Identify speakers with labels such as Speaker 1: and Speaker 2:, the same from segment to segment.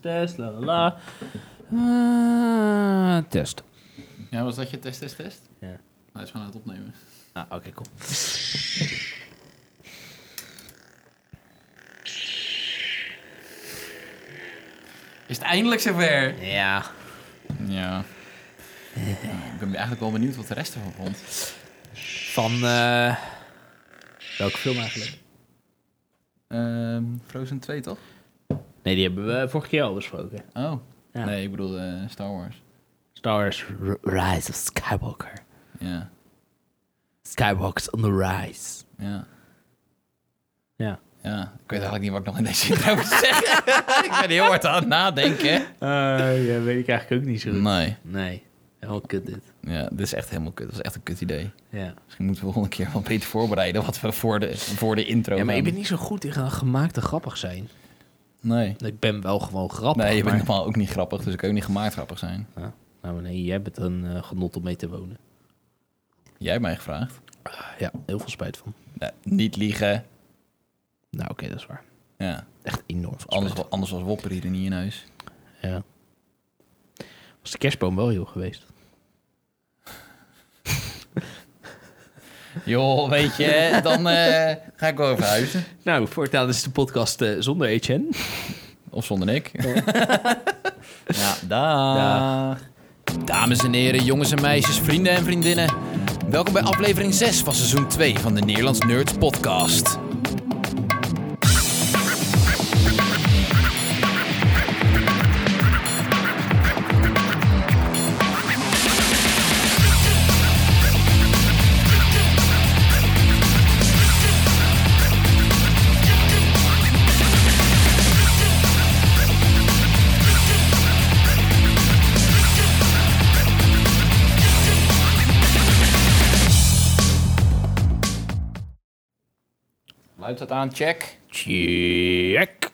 Speaker 1: test, la la la. Ah, test.
Speaker 2: Ja, was dat je test, test, test?
Speaker 1: Ja.
Speaker 2: Hij is gewoon aan het opnemen.
Speaker 1: Ah, oké, cool.
Speaker 2: Is het eindelijk zover?
Speaker 1: Ja.
Speaker 2: Ja. Nou, ik ben eigenlijk wel benieuwd wat de rest ervan vond.
Speaker 1: Van, eh welke film eigenlijk?
Speaker 2: Ehm, Frozen 2, toch?
Speaker 1: Nee, die hebben we vorige keer al besproken.
Speaker 2: Oh.
Speaker 1: Ja.
Speaker 2: Nee, ik bedoel eh, Star Wars.
Speaker 1: Star Wars R- Rise of Skywalker.
Speaker 2: Ja.
Speaker 1: Skywalker's on the rise.
Speaker 2: Ja.
Speaker 1: Ja.
Speaker 2: Ja. Ik weet eigenlijk niet wat ik nog in deze intro moet zeggen. ik ben heel hard aan het nadenken.
Speaker 1: Eh, ja, weet ik eigenlijk ook niet zo
Speaker 2: Nee.
Speaker 1: Nee, helemaal kut dit.
Speaker 2: Ja, dit is echt helemaal kut. Dat is echt een kut idee.
Speaker 1: Ja.
Speaker 2: Misschien moeten we de volgende keer wel beter voorbereiden wat we voor de, voor de intro
Speaker 1: ja, maar ik
Speaker 2: gaan.
Speaker 1: ben niet zo goed in gemaakt en grappig zijn.
Speaker 2: Nee.
Speaker 1: Ik ben wel gewoon grappig.
Speaker 2: Nee, je bent
Speaker 1: maar...
Speaker 2: normaal ook niet grappig, dus ik kan ook niet gemaakt grappig zijn.
Speaker 1: Ja. Nou nee, jij bent een eh, genot om mee te wonen.
Speaker 2: Jij hebt mij gevraagd.
Speaker 1: Ja, heel veel spijt van.
Speaker 2: Nou, niet liegen.
Speaker 1: Nou oké, dat is waar.
Speaker 2: Ja.
Speaker 1: Echt enorm veel spijt.
Speaker 2: Anders, wa- anders was Wopper hier niet in huis.
Speaker 1: Ja. Was de kerstboom wel heel geweest?
Speaker 2: Joh, weet je, dan eh, ga ik wel verhuizen.
Speaker 1: Nou, voortaan is de podcast eh, zonder HN.
Speaker 2: Of zonder ik. ja, daag. Dames en heren, jongens en meisjes, vrienden en vriendinnen. Welkom bij aflevering 6 van seizoen 2 van de Nederlands Nerds podcast. Luidt dat aan, check.
Speaker 1: Check.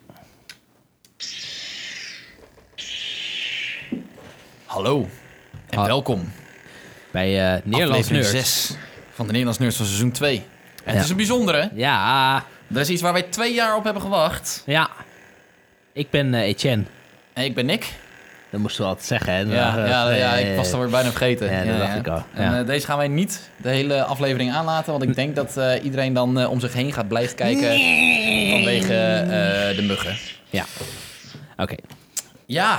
Speaker 2: Hallo en
Speaker 1: Ha-
Speaker 2: welkom.
Speaker 1: Bij eh, Nederlands
Speaker 2: Aflevering
Speaker 1: Nerds.
Speaker 2: 6 van de Nederlands Nerds van seizoen 2. En
Speaker 1: Ja.
Speaker 2: het is een bijzondere.
Speaker 1: Ja,
Speaker 2: Dat is iets waar wij twee jaar op hebben gewacht.
Speaker 1: ja. Ik ben eh Etienne.
Speaker 2: En ik ben Nick.
Speaker 1: Dat moesten we altijd zeggen, hè? eh,
Speaker 2: Ja, ja, ja, ik was het alweer bijna vergeten.
Speaker 1: Ja, dat dacht ik al,
Speaker 2: En
Speaker 1: ja.
Speaker 2: eh, deze gaan wij niet de hele aflevering aanlaten, want ik denk dat eh, iedereen dan eh, om zich heen gaat blijven kijken vanwege eh, de muggen.
Speaker 1: Ja. Oké.
Speaker 2: Ja.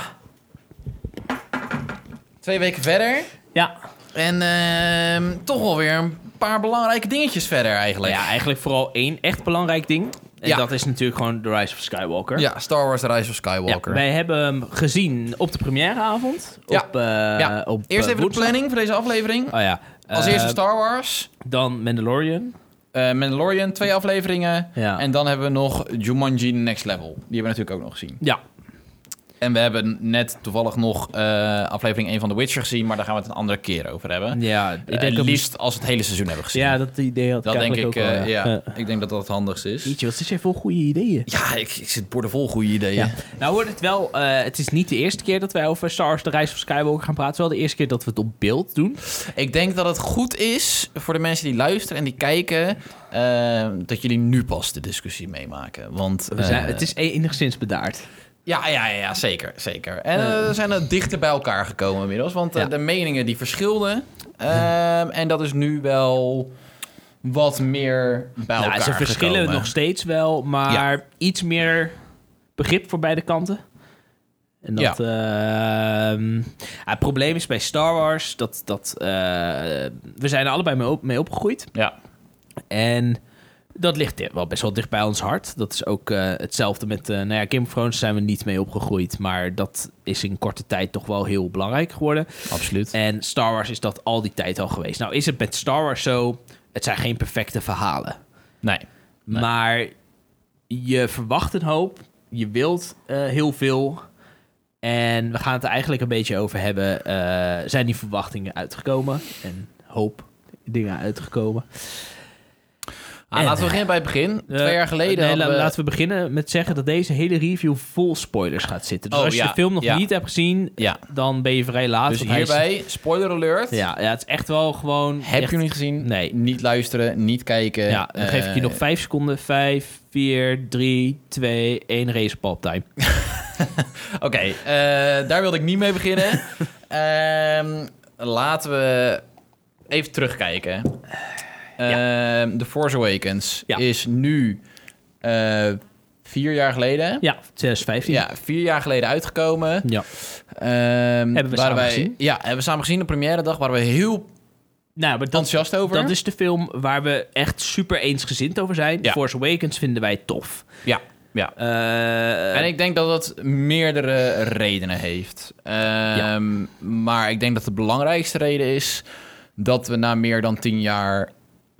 Speaker 2: Twee weken verder
Speaker 1: Ja.
Speaker 2: en ehm, toch wel weer een paar belangrijke dingetjes verder eigenlijk.
Speaker 1: ja, eigenlijk vooral één echt belangrijk ding. En
Speaker 2: Ja.
Speaker 1: dat is natuurlijk gewoon The Rise of Skywalker.
Speaker 2: Ja, Star Wars The Rise of Skywalker.
Speaker 1: Ja, wij hebben hem gezien op de premièreavond.
Speaker 2: Ja.
Speaker 1: Op, eh,
Speaker 2: Ja.
Speaker 1: op
Speaker 2: Eerst
Speaker 1: eh,
Speaker 2: even de
Speaker 1: woensdag.
Speaker 2: planning voor deze aflevering.
Speaker 1: Oh ja.
Speaker 2: Als
Speaker 1: Eh,
Speaker 2: eerste Star Wars,
Speaker 1: Dan Mandalorian.
Speaker 2: eh, Mandalorian, twee afleveringen.
Speaker 1: Ja.
Speaker 2: En dan hebben we nog Jumanji Next Level. Die hebben we natuurlijk ook nog gezien.
Speaker 1: Ja.
Speaker 2: En we hebben net toevallig nog eh, aflevering 1 van The Witcher gezien, maar daar gaan we het een andere keer over hebben.
Speaker 1: Ja, ik
Speaker 2: Eh,
Speaker 1: denk dat
Speaker 2: liefst als we het hele seizoen hebben gezien.
Speaker 1: Ja, dat idee had
Speaker 2: dat
Speaker 1: ik
Speaker 2: denk
Speaker 1: eigenlijk
Speaker 2: ik.
Speaker 1: ook wel,
Speaker 2: eh, ja. Ik denk dat dat het handigst is.
Speaker 1: Jeetje, wat zit jij vol goede ideeën.
Speaker 2: Ja, ik, ik zit bordenvol goede ideeën.
Speaker 1: Nou wordt het wel, eh, het is niet de eerste keer dat wij over Star Wars, de reis van Skywalker gaan praten. Het is wel de eerste keer dat we het op beeld doen.
Speaker 2: Ik denk dat het goed is voor de mensen die luisteren en die kijken, eh, dat jullie nu pas de discussie meemaken. Want
Speaker 1: We zijn,
Speaker 2: eh,
Speaker 1: het is e- enigszins bedaard.
Speaker 2: Ja, ja, ja, ja, zeker, zeker. En eh, we zijn er dichter bij elkaar gekomen inmiddels, want eh,
Speaker 1: Ja.
Speaker 2: de meningen die verschilden. ehm, en dat is nu wel wat meer bij elkaar
Speaker 1: Nou, ze verschillen
Speaker 2: gekomen.
Speaker 1: nog steeds wel, maar iets meer begrip voor beide kanten. En dat, ehm, ja, het probleem is bij Star Wars dat, dat eh, we zijn er allebei mee, op, mee opgegroeid.
Speaker 2: Ja,
Speaker 1: En dat ligt wel best wel dicht bij ons hart. Dat is ook eh, hetzelfde met, eh nou ja, Game of Thrones zijn we niet mee opgegroeid. Maar dat is in korte tijd toch wel heel belangrijk geworden.
Speaker 2: absoluut.
Speaker 1: En Star Wars is dat al die tijd al geweest. Nou is het met Star Wars zo, het zijn geen perfecte verhalen.
Speaker 2: Nee. Nee.
Speaker 1: Maar je verwacht een hoop, je wilt eh, heel veel. En we gaan het er eigenlijk een beetje over hebben. eh, zijn die verwachtingen uitgekomen? En hoop dingen uitgekomen?
Speaker 2: Ah,
Speaker 1: En-
Speaker 2: laten we beginnen bij het begin.
Speaker 1: Eh,
Speaker 2: Twee jaar geleden
Speaker 1: nee, la-
Speaker 2: hadden we...
Speaker 1: Laten we beginnen met zeggen dat deze hele review vol spoilers gaat zitten. Dus
Speaker 2: Oh,
Speaker 1: als je
Speaker 2: ja,
Speaker 1: de film nog
Speaker 2: ja.
Speaker 1: niet hebt gezien,
Speaker 2: Ja,
Speaker 1: dan ben je vrij laat.
Speaker 2: dus
Speaker 1: want hij is-
Speaker 2: hierbij, spoiler alert.
Speaker 1: Ja, ja, het is echt wel gewoon...
Speaker 2: Heb
Speaker 1: echt-
Speaker 2: je niet gezien?
Speaker 1: Nee.
Speaker 2: Niet luisteren, niet kijken.
Speaker 1: Ja, dan geef ik je
Speaker 2: eh,
Speaker 1: nog vijf seconden. Vijf, vier, drie, twee, één race time.
Speaker 2: Oké, eh, daar wilde ik niet mee beginnen. Ehm, laten we even terugkijken. Ehm, The Force Awakens
Speaker 1: Ja.
Speaker 2: is nu eh, vier jaar geleden.
Speaker 1: Ja, 2015.
Speaker 2: Ja, vier jaar geleden uitgekomen.
Speaker 1: Ja.
Speaker 2: Ehm,
Speaker 1: we
Speaker 2: waren
Speaker 1: samen
Speaker 2: wij,
Speaker 1: gezien?
Speaker 2: Ja, hebben we samen gezien. De première dag waren we heel
Speaker 1: Nou, maar dat,
Speaker 2: enthousiast over.
Speaker 1: dat is de film waar we echt super eensgezind over zijn.
Speaker 2: Ja.
Speaker 1: Force Awakens vinden wij tof.
Speaker 2: Ja, ja.
Speaker 1: Eh,
Speaker 2: En ik denk dat dat meerdere redenen heeft. Ehm, Maar ik denk dat de belangrijkste reden is dat we na meer dan tien jaar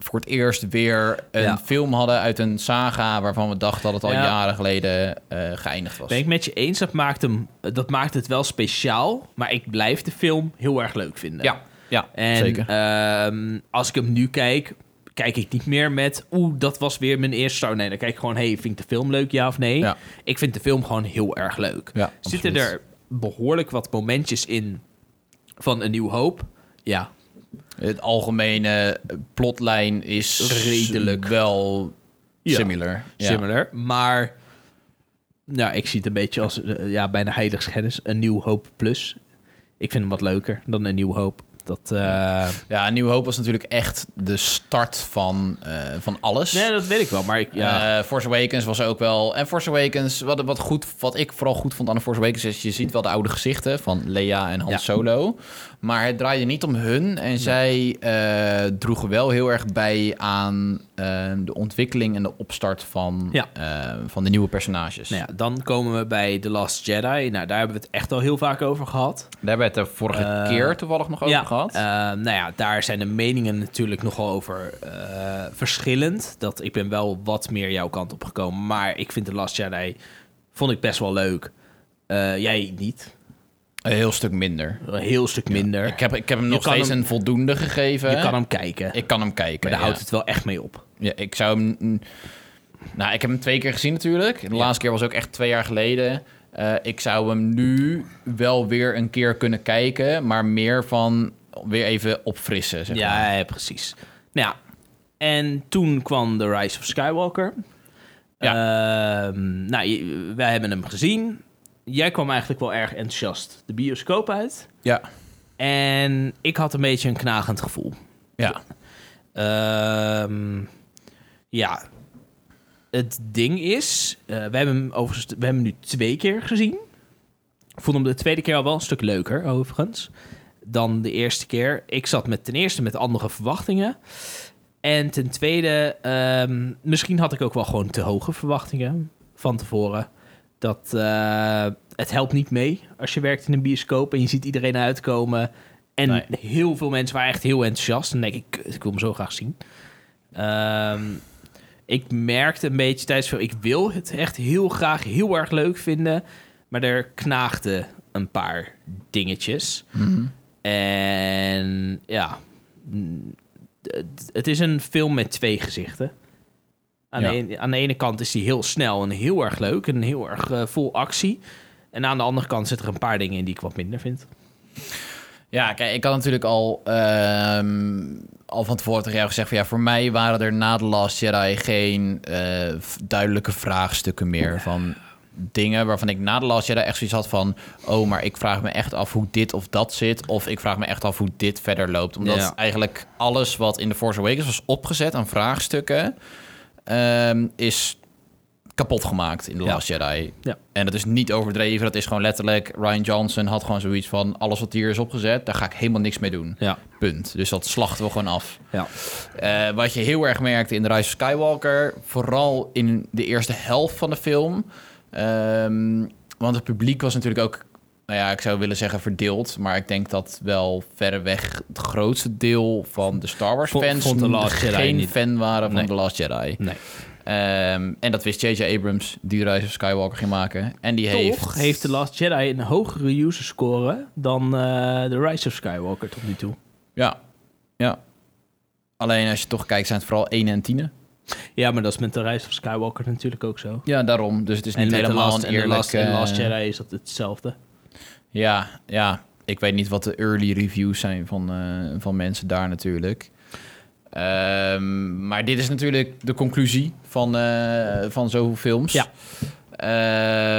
Speaker 2: voor het eerst weer een
Speaker 1: Ja.
Speaker 2: film hadden uit een saga waarvan we dachten dat het al
Speaker 1: Ja.
Speaker 2: jaren geleden eh, geëindigd was.
Speaker 1: ben ik met je eens, dat maakt, hem, dat maakt het wel speciaal. Maar ik blijf de film heel erg leuk vinden.
Speaker 2: Ja, ja
Speaker 1: En
Speaker 2: zeker.
Speaker 1: ehm, als ik hem nu kijk, kijk ik niet meer met... Oeh, dat was weer mijn eerste star. Nee, dan kijk ik gewoon... hey, vind ik de film leuk, ja of nee?
Speaker 2: Ja.
Speaker 1: Ik vind de film gewoon heel erg leuk.
Speaker 2: Ja,
Speaker 1: Zitten
Speaker 2: absoluut.
Speaker 1: er behoorlijk wat momentjes in van Een Nieuw Hoop? Ja.
Speaker 2: Het algemene plotlijn is
Speaker 1: Redelijk.
Speaker 2: wel
Speaker 1: Ja.
Speaker 2: similar. Ja.
Speaker 1: similar. Maar nou, ik zie het een beetje als eh, ja, bijna heiligschennis. Een Nieuw Hoop Plus. Ik vind hem wat leuker dan Een Nieuw Hoop. Dat, eh,
Speaker 2: Ja, Nieuw Hoop was natuurlijk echt de start van, eh, van alles.
Speaker 1: Nee, dat weet ik wel. Maar ik, ja,
Speaker 2: Eh, Force Awakens was ook wel. En Force Awakens, wat, wat, goed, wat ik vooral goed vond aan de Force Awakens, is je ziet wel de oude gezichten van Leia en Han
Speaker 1: Ja.
Speaker 2: Solo. Maar het draaide niet om hun. En zij eh, droegen wel heel erg bij aan eh, de ontwikkeling en de opstart van,
Speaker 1: Ja.
Speaker 2: eh, van de nieuwe personages.
Speaker 1: nou ja, dan komen we bij The Last Jedi. Nou, daar hebben we het echt al heel vaak over gehad.
Speaker 2: Daar hebben we het de vorige
Speaker 1: Eh,
Speaker 2: keer toevallig nog over
Speaker 1: ja,
Speaker 2: gehad.
Speaker 1: eh, nou ja, daar zijn de meningen natuurlijk nogal over eh, verschillend. Dat, ik ben wel wat meer jouw kant op gekomen. Maar ik vind The Last Jedi vond ik best wel leuk. Eh, jij niet.
Speaker 2: een heel stuk minder.
Speaker 1: Een heel stuk minder.
Speaker 2: Ik heb, eh, ik heb hem nog
Speaker 1: kan
Speaker 2: steeds
Speaker 1: hem-
Speaker 2: een voldoende gegeven.
Speaker 1: Je kan hem kijken.
Speaker 2: Ik kan hem kijken.
Speaker 1: maar daar
Speaker 2: ja.
Speaker 1: houdt het wel echt mee op.
Speaker 2: Ja, ik zou hem. mm, Nou, ik heb hem twee keer gezien natuurlijk. De laatste keer was ook echt twee jaar geleden. Eh, ik zou hem nu wel weer een keer kunnen kijken, maar meer van weer even opfrissen. Zeg maar.
Speaker 1: Ja, ja, precies. Nou ja, en toen kwam The Rise of Skywalker. Ehm, nou, je- wij hebben hem gezien. Jij kwam eigenlijk wel erg enthousiast de bioscoop uit.
Speaker 2: ja,
Speaker 1: En ik had een beetje een knagend gevoel.
Speaker 2: ja.
Speaker 1: Ehm, ja. Het ding is, eh, we, hebben hem overigens, we hebben hem nu twee keer gezien. Ik vond hem de tweede keer al wel een stuk leuker, overigens, dan de eerste keer. Ik zat met, ten eerste met andere verwachtingen. En ten tweede, ehm, misschien had ik ook wel gewoon te hoge verwachtingen van tevoren. Dat eh, het helpt niet mee als je werkt in een bioscoop en je ziet iedereen uitkomen. En
Speaker 2: Nee.
Speaker 1: heel veel mensen waren echt heel enthousiast. En dan denk ik, "Kut, ik wil hem zo graag zien. Ehm, ik merkte een beetje tijdens veel, ik wil het echt heel graag heel erg leuk vinden. Maar er knaagden een paar dingetjes. En ja, mm, het- het is een film met twee gezichten. Aan,
Speaker 2: Ja.
Speaker 1: de, een- aan de ene kant is die heel snel en heel erg leuk en heel erg eh, vol actie. En aan de andere kant zitten er een paar dingen in die ik wat minder vind.
Speaker 2: Ja, kijk, ik had natuurlijk al, ehm, al van tevoren tegen jou gezegd... Van, ja, voor mij waren er na de Last Jedi geen eh, v- duidelijke vraagstukken meer... van dingen waarvan ik na de Last Jedi echt zoiets had van... oh, maar ik vraag me echt af hoe dit of dat zit... of ik vraag me echt af hoe dit verder loopt. Omdat
Speaker 1: Ja.
Speaker 2: eigenlijk alles wat in The Force Awakens was opgezet aan vraagstukken... ehm, is kapot gemaakt in The
Speaker 1: Ja.
Speaker 2: Last Jedi.
Speaker 1: Ja.
Speaker 2: En dat is niet overdreven. Dat is gewoon letterlijk... Ryan Johnson had gewoon zoiets van... alles wat hier is opgezet, daar ga ik helemaal niks mee doen.
Speaker 1: Ja,
Speaker 2: Punt. Dus dat slachten we gewoon af.
Speaker 1: ja.
Speaker 2: Eh, wat je heel erg merkte in The Rise of Skywalker... vooral in de eerste helft van de film... ehm, want het publiek was natuurlijk ook... nou ja, ik zou willen zeggen verdeeld... maar ik denk dat wel verreweg... het grootste deel van de Star Wars
Speaker 1: Vond-
Speaker 2: fans...
Speaker 1: vond The Last Jedi
Speaker 2: geen
Speaker 1: niet.
Speaker 2: fan waren van
Speaker 1: Nee.
Speaker 2: The Last Jedi.
Speaker 1: Nee.
Speaker 2: Ehm, en dat wist J.J. Abrams, die Rise of Skywalker ging maken. En die
Speaker 1: Toch
Speaker 2: heeft...
Speaker 1: heeft The Last Jedi een hogere user score dan eh, The Rise of Skywalker tot nu toe.
Speaker 2: Ja, ja. Alleen als je toch kijkt, zijn het vooral 1 en 10.
Speaker 1: Ja, maar dat is met The Rise of Skywalker natuurlijk ook zo.
Speaker 2: Ja, daarom. Dus het is
Speaker 1: En
Speaker 2: niet
Speaker 1: met The
Speaker 2: helemaal
Speaker 1: Last,
Speaker 2: een
Speaker 1: en The
Speaker 2: eerlijk...
Speaker 1: Last, en The
Speaker 2: eh,
Speaker 1: Last Jedi is dat hetzelfde.
Speaker 2: Ja, ja. Ik weet niet wat de early reviews zijn van, eh, van mensen daar natuurlijk. Ehm, maar dit is natuurlijk de conclusie van, eh, van zoveel films.
Speaker 1: Ja.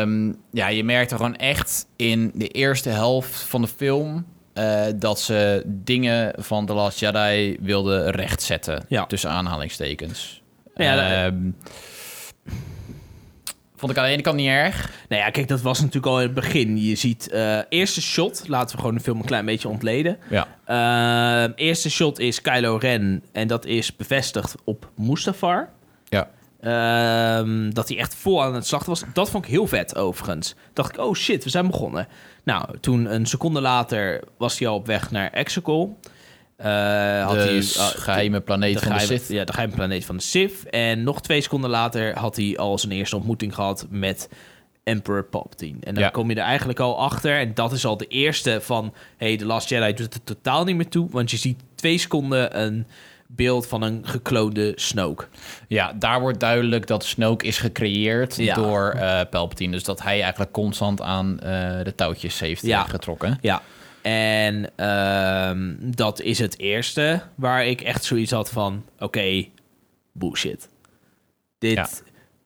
Speaker 2: Ehm, ja, je merkte gewoon echt in de eerste helft van de film eh, dat ze dingen van The Last Jedi wilden rechtzetten.
Speaker 1: Ja.
Speaker 2: Tussen aanhalingstekens.
Speaker 1: Ja, dat-
Speaker 2: Ehm, vond ik aan de ene kant niet erg.
Speaker 1: Nou ja, kijk, dat was natuurlijk al in het begin. Je ziet eh, eerste shot, laten we gewoon de film een klein beetje ontleden.
Speaker 2: Ja.
Speaker 1: Ehm, eerste shot is Kylo Ren en dat is bevestigd op Mustafar.
Speaker 2: Ja.
Speaker 1: Ehm, dat hij echt vol aan het slachten was. Dat vond ik heel vet overigens. Dacht ik, oh shit, we zijn begonnen. Nou, toen een seconde later was hij al op weg naar Exegol. Eh, had
Speaker 2: de
Speaker 1: hij,
Speaker 2: s-
Speaker 1: ah,
Speaker 2: geheime planeet van
Speaker 1: geheime-
Speaker 2: de Sith.
Speaker 1: Ja, de geheime planeet van de Sith. En nog twee seconden later had hij al zijn eerste ontmoeting gehad met Emperor Palpatine. En dan
Speaker 2: Ja.
Speaker 1: kom je er eigenlijk al achter. En dat is al de eerste van... hey, The Last Jedi doet het er totaal niet meer toe. Want je ziet twee seconden een beeld van een gekloonde Snoke.
Speaker 2: Ja, daar wordt duidelijk dat Snoke is gecreëerd
Speaker 1: Ja.
Speaker 2: door eh, Palpatine. Dus dat hij eigenlijk constant aan eh, de touwtjes heeft eh,
Speaker 1: Ja.
Speaker 2: getrokken.
Speaker 1: Ja. En ehm, dat is het eerste waar ik echt zoiets had van... Oké, bullshit. Dit...
Speaker 2: Ja.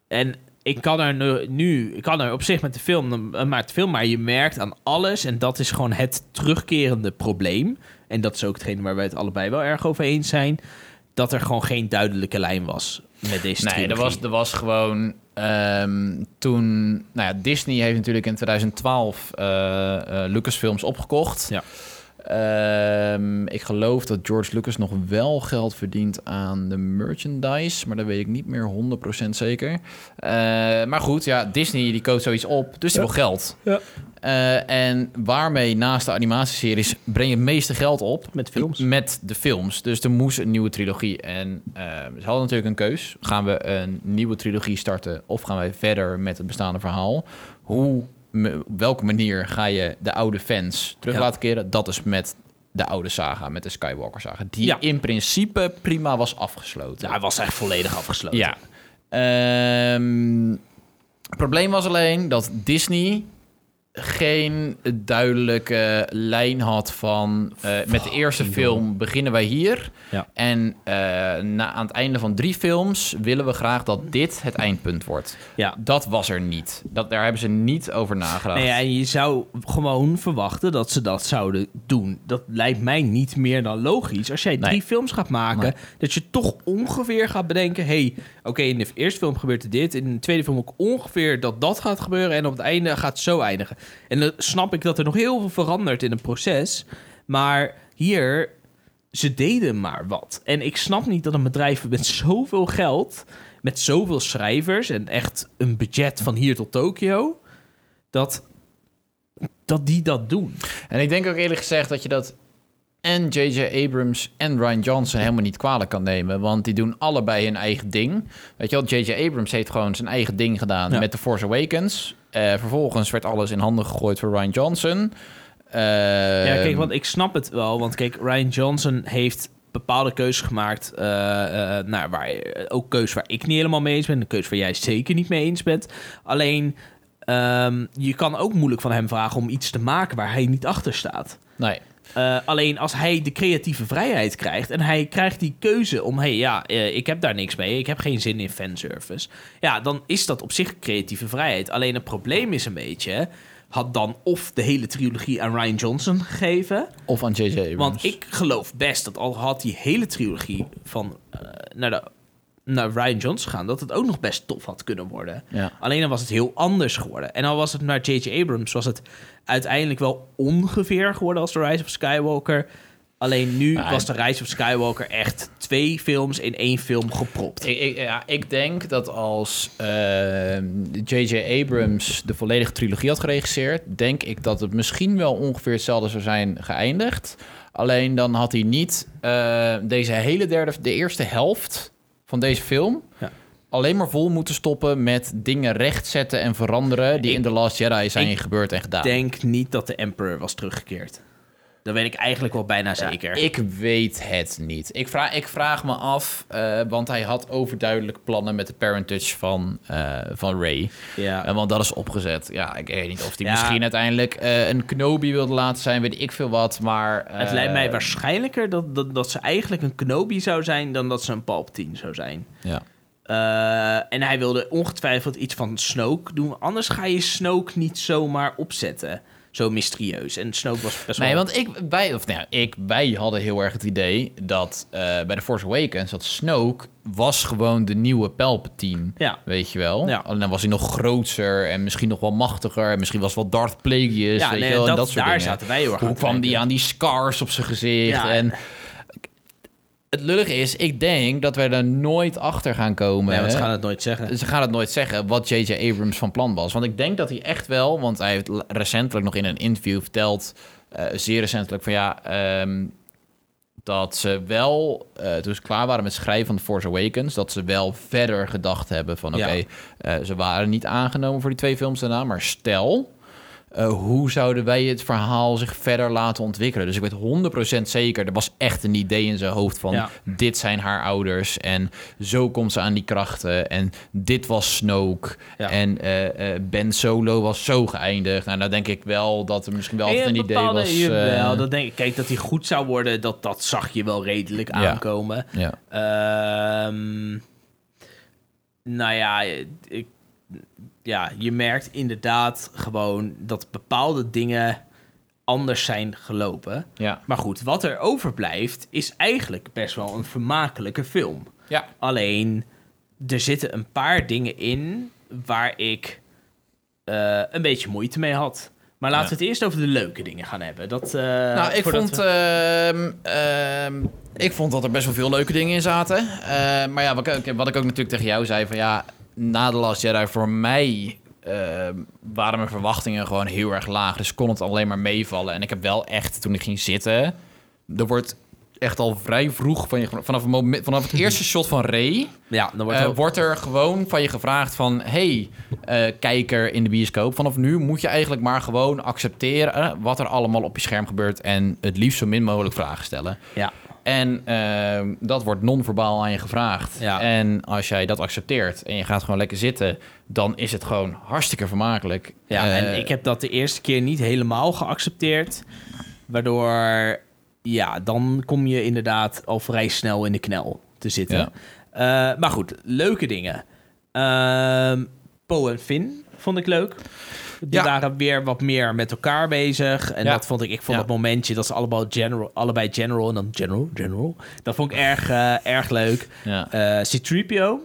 Speaker 1: En ik kan er nu, nu... Ik kan er op zich met de film... Maar het film, maar je merkt aan alles... En dat is gewoon het terugkerende probleem. En dat is ook hetgeen waar wij het allebei wel erg over eens zijn. Dat er gewoon geen duidelijke lijn was met deze
Speaker 2: Nee, er
Speaker 1: trilogie.
Speaker 2: was, er was gewoon ehm, toen. Nou ja, Disney heeft natuurlijk in 2012 eh, eh, Lucasfilms opgekocht.
Speaker 1: Ja.
Speaker 2: Ehm, ik geloof dat George Lucas nog wel geld verdient aan de merchandise, maar dat weet ik niet meer 100% zeker. Eh, maar goed, ja, Disney die koopt zoiets op, dus die wil geld.
Speaker 1: Ja.
Speaker 2: Eh, en waarmee naast de animatieseries breng je het meeste geld op?
Speaker 1: Met films.
Speaker 2: Met de films. Dus er moest een nieuwe trilogie. En ehm, ze hadden natuurlijk een keus. Gaan we een nieuwe trilogie starten of gaan wij verder met het bestaande verhaal? Hoe, me- op welke manier ga je de oude fans terug
Speaker 1: Ja.
Speaker 2: laten keren? Dat is met de oude saga, met de Skywalker saga. Die
Speaker 1: Ja.
Speaker 2: in principe prima was afgesloten.
Speaker 1: Ja, hij was echt volledig afgesloten.
Speaker 2: Ja. Ehm, het probleem was alleen dat Disney geen duidelijke lijn had van... eh, met de eerste film beginnen wij hier.
Speaker 1: Ja.
Speaker 2: En eh, na, aan het einde van drie films willen we graag dat dit het eindpunt wordt.
Speaker 1: Ja.
Speaker 2: Dat was er niet. Dat, daar hebben ze niet over nagedacht.
Speaker 1: Nee, en je zou gewoon verwachten dat ze dat zouden doen. Dat lijkt mij niet meer dan logisch. Als jij
Speaker 2: Nee.
Speaker 1: drie films gaat maken,
Speaker 2: Nee.
Speaker 1: dat je toch ongeveer gaat bedenken: hey, oké, in de eerste film gebeurt er dit. In de tweede film ook ongeveer dat dat gaat gebeuren. En op het einde gaat het zo eindigen. En dan snap ik dat er nog heel veel verandert in het proces. Maar hier, ze deden maar wat. En ik snap niet dat een bedrijf met zoveel geld, met zoveel schrijvers en echt een budget van hier tot Tokio, dat, dat die dat doen.
Speaker 2: En ik denk ook eerlijk gezegd dat je dat en J.J. Abrams en Ryan Johnson helemaal niet kwalijk kan nemen. Want die doen allebei hun eigen ding. Weet je wel, J.J. Abrams heeft gewoon zijn eigen ding gedaan
Speaker 1: Ja.
Speaker 2: met The Force Awakens. Eh, vervolgens werd alles in handen gegooid voor Ryan Johnson. Eh,
Speaker 1: ja, kijk, want ik snap het wel. Want kijk, Ryan Johnson heeft bepaalde keuzes gemaakt. eh eh, nou, waar, ook keuzes waar ik niet helemaal mee eens ben. Een keuze waar jij zeker niet mee eens bent. Alleen, ehm, je kan ook moeilijk van hem vragen om iets te maken waar hij niet achter staat.
Speaker 2: Nee,
Speaker 1: Eh, alleen als hij de creatieve vrijheid krijgt en hij krijgt die keuze om: hey, ja, eh, ik heb daar niks mee, ik heb geen zin in fanservice. Ja, dan is dat op zich creatieve vrijheid. Alleen het probleem is een beetje: had dan of de hele trilogie aan Ryan Johnson gegeven.
Speaker 2: of aan J.J. Abrams.
Speaker 1: Want ik geloof best dat al had die hele trilogie van eh, naar, de, naar Ryan Johnson gaan, dat het ook nog best tof had kunnen worden.
Speaker 2: Ja.
Speaker 1: Alleen dan was het heel anders geworden. En al was het naar J.J. Abrams, was het uiteindelijk wel ongeveer geworden als The Rise of Skywalker. Alleen nu
Speaker 2: Maar-
Speaker 1: was The Rise of Skywalker echt twee films in één film gepropt.
Speaker 2: Ik, ik- ja, ik denk dat als eh, J.J. Abrams de volledige trilogie had geregisseerd, denk ik dat het misschien wel ongeveer hetzelfde zou zijn geëindigd. Alleen dan had hij niet eh, deze hele derde, de eerste helft van deze film.
Speaker 1: Ja.
Speaker 2: Alleen maar vol moeten stoppen met dingen rechtzetten en veranderen die
Speaker 1: Ik-
Speaker 2: in The Last Jedi zijn
Speaker 1: ik
Speaker 2: gebeurd en gedaan.
Speaker 1: Ik denk niet dat de Emperor was teruggekeerd. Dat weet ik eigenlijk wel bijna zeker.
Speaker 2: Ik weet het niet. Ik vraag, ik vraag me af, eh, want hij had overduidelijk plannen met de parentage van, eh, van Ray.
Speaker 1: ja.
Speaker 2: Eh, want dat is opgezet. Ja, ik weet niet of die
Speaker 1: Ja.
Speaker 2: misschien uiteindelijk eh, een Knobi wilde laten zijn, weet ik veel wat. Maar eh,
Speaker 1: Het lijkt mij waarschijnlijker dat, dat, dat ze eigenlijk een Kenobi zou zijn dan dat ze een Palpatine zou zijn.
Speaker 2: Ja.
Speaker 1: Eh, en hij wilde ongetwijfeld iets van Snoke doen. Anders ga je Snoke niet zomaar opzetten. Zo mysterieus. En Snoke was best wel...
Speaker 2: Nee, want ik, wij, of, nou, ja, ik, wij hadden heel erg het idee dat eh, bij The Force Awakens... dat Snoke was gewoon de nieuwe Palpatine,
Speaker 1: Ja.
Speaker 2: weet je wel.
Speaker 1: Ja.
Speaker 2: Alleen dan was hij nog groter en misschien nog wel machtiger... en misschien was het wel Darth Plagueis,
Speaker 1: Ja,
Speaker 2: weet
Speaker 1: nee,
Speaker 2: je wel, en
Speaker 1: dat-
Speaker 2: dat soort
Speaker 1: daar
Speaker 2: dingen.
Speaker 1: zaten wij heel erg aan
Speaker 2: Hoe
Speaker 1: te
Speaker 2: kwam die
Speaker 1: denken.
Speaker 2: aan die scars op zijn gezicht?
Speaker 1: Ja.
Speaker 2: En het lullig is, ik denk dat wij daar nooit achter gaan komen.
Speaker 1: Nee, want ze
Speaker 2: hè?
Speaker 1: gaan het nooit zeggen.
Speaker 2: Ze gaan het nooit zeggen wat J.J. Abrams van plan was. Want ik denk dat hij echt wel, want hij heeft l- recentelijk nog in een interview verteld, eh, zeer recentelijk, van ja, ehm, dat ze wel, eh, toen ze klaar waren met schrijven van The Force Awakens, dat ze wel verder gedacht hebben van oké,
Speaker 1: Ja.
Speaker 2: eh, ze waren niet aangenomen voor die twee films daarna, maar stel. eh, hoe zouden wij het verhaal zich verder laten ontwikkelen? Dus ik weet 100% zeker, er was echt een idee in zijn hoofd van...
Speaker 1: Ja.
Speaker 2: dit zijn haar ouders en zo komt ze aan die krachten... en dit was Snoke
Speaker 1: Ja.
Speaker 2: en eh, eh, Ben Solo was zo geëindigd. Nou, dan denk ik wel dat er misschien wel altijd
Speaker 1: En
Speaker 2: een idee
Speaker 1: bepaalde-
Speaker 2: was...
Speaker 1: jawel,
Speaker 2: eh,
Speaker 1: dat denk ik. Kijk, dat hij goed zou worden, dat, dat zag je wel redelijk
Speaker 2: Ja.
Speaker 1: aankomen.
Speaker 2: ja.
Speaker 1: Ehm, nou ja, ik, ja, je merkt inderdaad gewoon dat bepaalde dingen anders zijn gelopen.
Speaker 2: Ja.
Speaker 1: Maar goed, wat er overblijft is eigenlijk best wel een vermakelijke film.
Speaker 2: ja,
Speaker 1: Alleen, er zitten een paar dingen in waar ik eh, een beetje moeite mee had. Maar laten
Speaker 2: Ja.
Speaker 1: we het eerst over de leuke dingen gaan hebben. Dat, eh,
Speaker 2: nou, ik
Speaker 1: voordat
Speaker 2: vond,
Speaker 1: we-
Speaker 2: ehm, ehm, ik vond dat er best wel veel leuke dingen in zaten. Eh, maar ja, wat, ik- wat ik ook natuurlijk tegen jou zei, van ja, na The Last Jedi voor mij ehm, waren mijn verwachtingen gewoon heel erg laag. Dus kon het alleen maar meevallen. En ik heb wel echt, toen ik ging zitten, er wordt echt al vrij vroeg, van je, vanaf, het moment, vanaf het eerste shot van Ray...
Speaker 1: Ja, dan wordt
Speaker 2: Eh,
Speaker 1: er ook-
Speaker 2: wordt er gewoon van je gevraagd van... hey, eh, kijker in de bioscoop, vanaf nu moet je eigenlijk maar gewoon accepteren... wat er allemaal op je scherm gebeurt en het liefst zo min mogelijk vragen stellen.
Speaker 1: ja.
Speaker 2: En eh, dat wordt non-verbaal aan je gevraagd.
Speaker 1: Ja.
Speaker 2: En als jij dat accepteert en je gaat gewoon lekker zitten... dan is het gewoon hartstikke vermakelijk.
Speaker 1: Ja,
Speaker 2: Eh,
Speaker 1: en ik heb dat de eerste keer niet helemaal geaccepteerd. Waardoor, ja, dan kom je inderdaad al vrij snel in de knel te zitten.
Speaker 2: Ja.
Speaker 1: Eh, maar goed, leuke dingen. Ehm Poe en Finn vond ik leuk. Die
Speaker 2: Ja.
Speaker 1: waren weer wat meer met elkaar bezig. En
Speaker 2: Ja.
Speaker 1: dat vond ik, ik vond
Speaker 2: Ja.
Speaker 1: dat momentje dat ze allebei general, allebei general en dan general, general. Dat vond ik erg, eh, erg leuk.
Speaker 2: Ja.
Speaker 1: Eh C-3PO.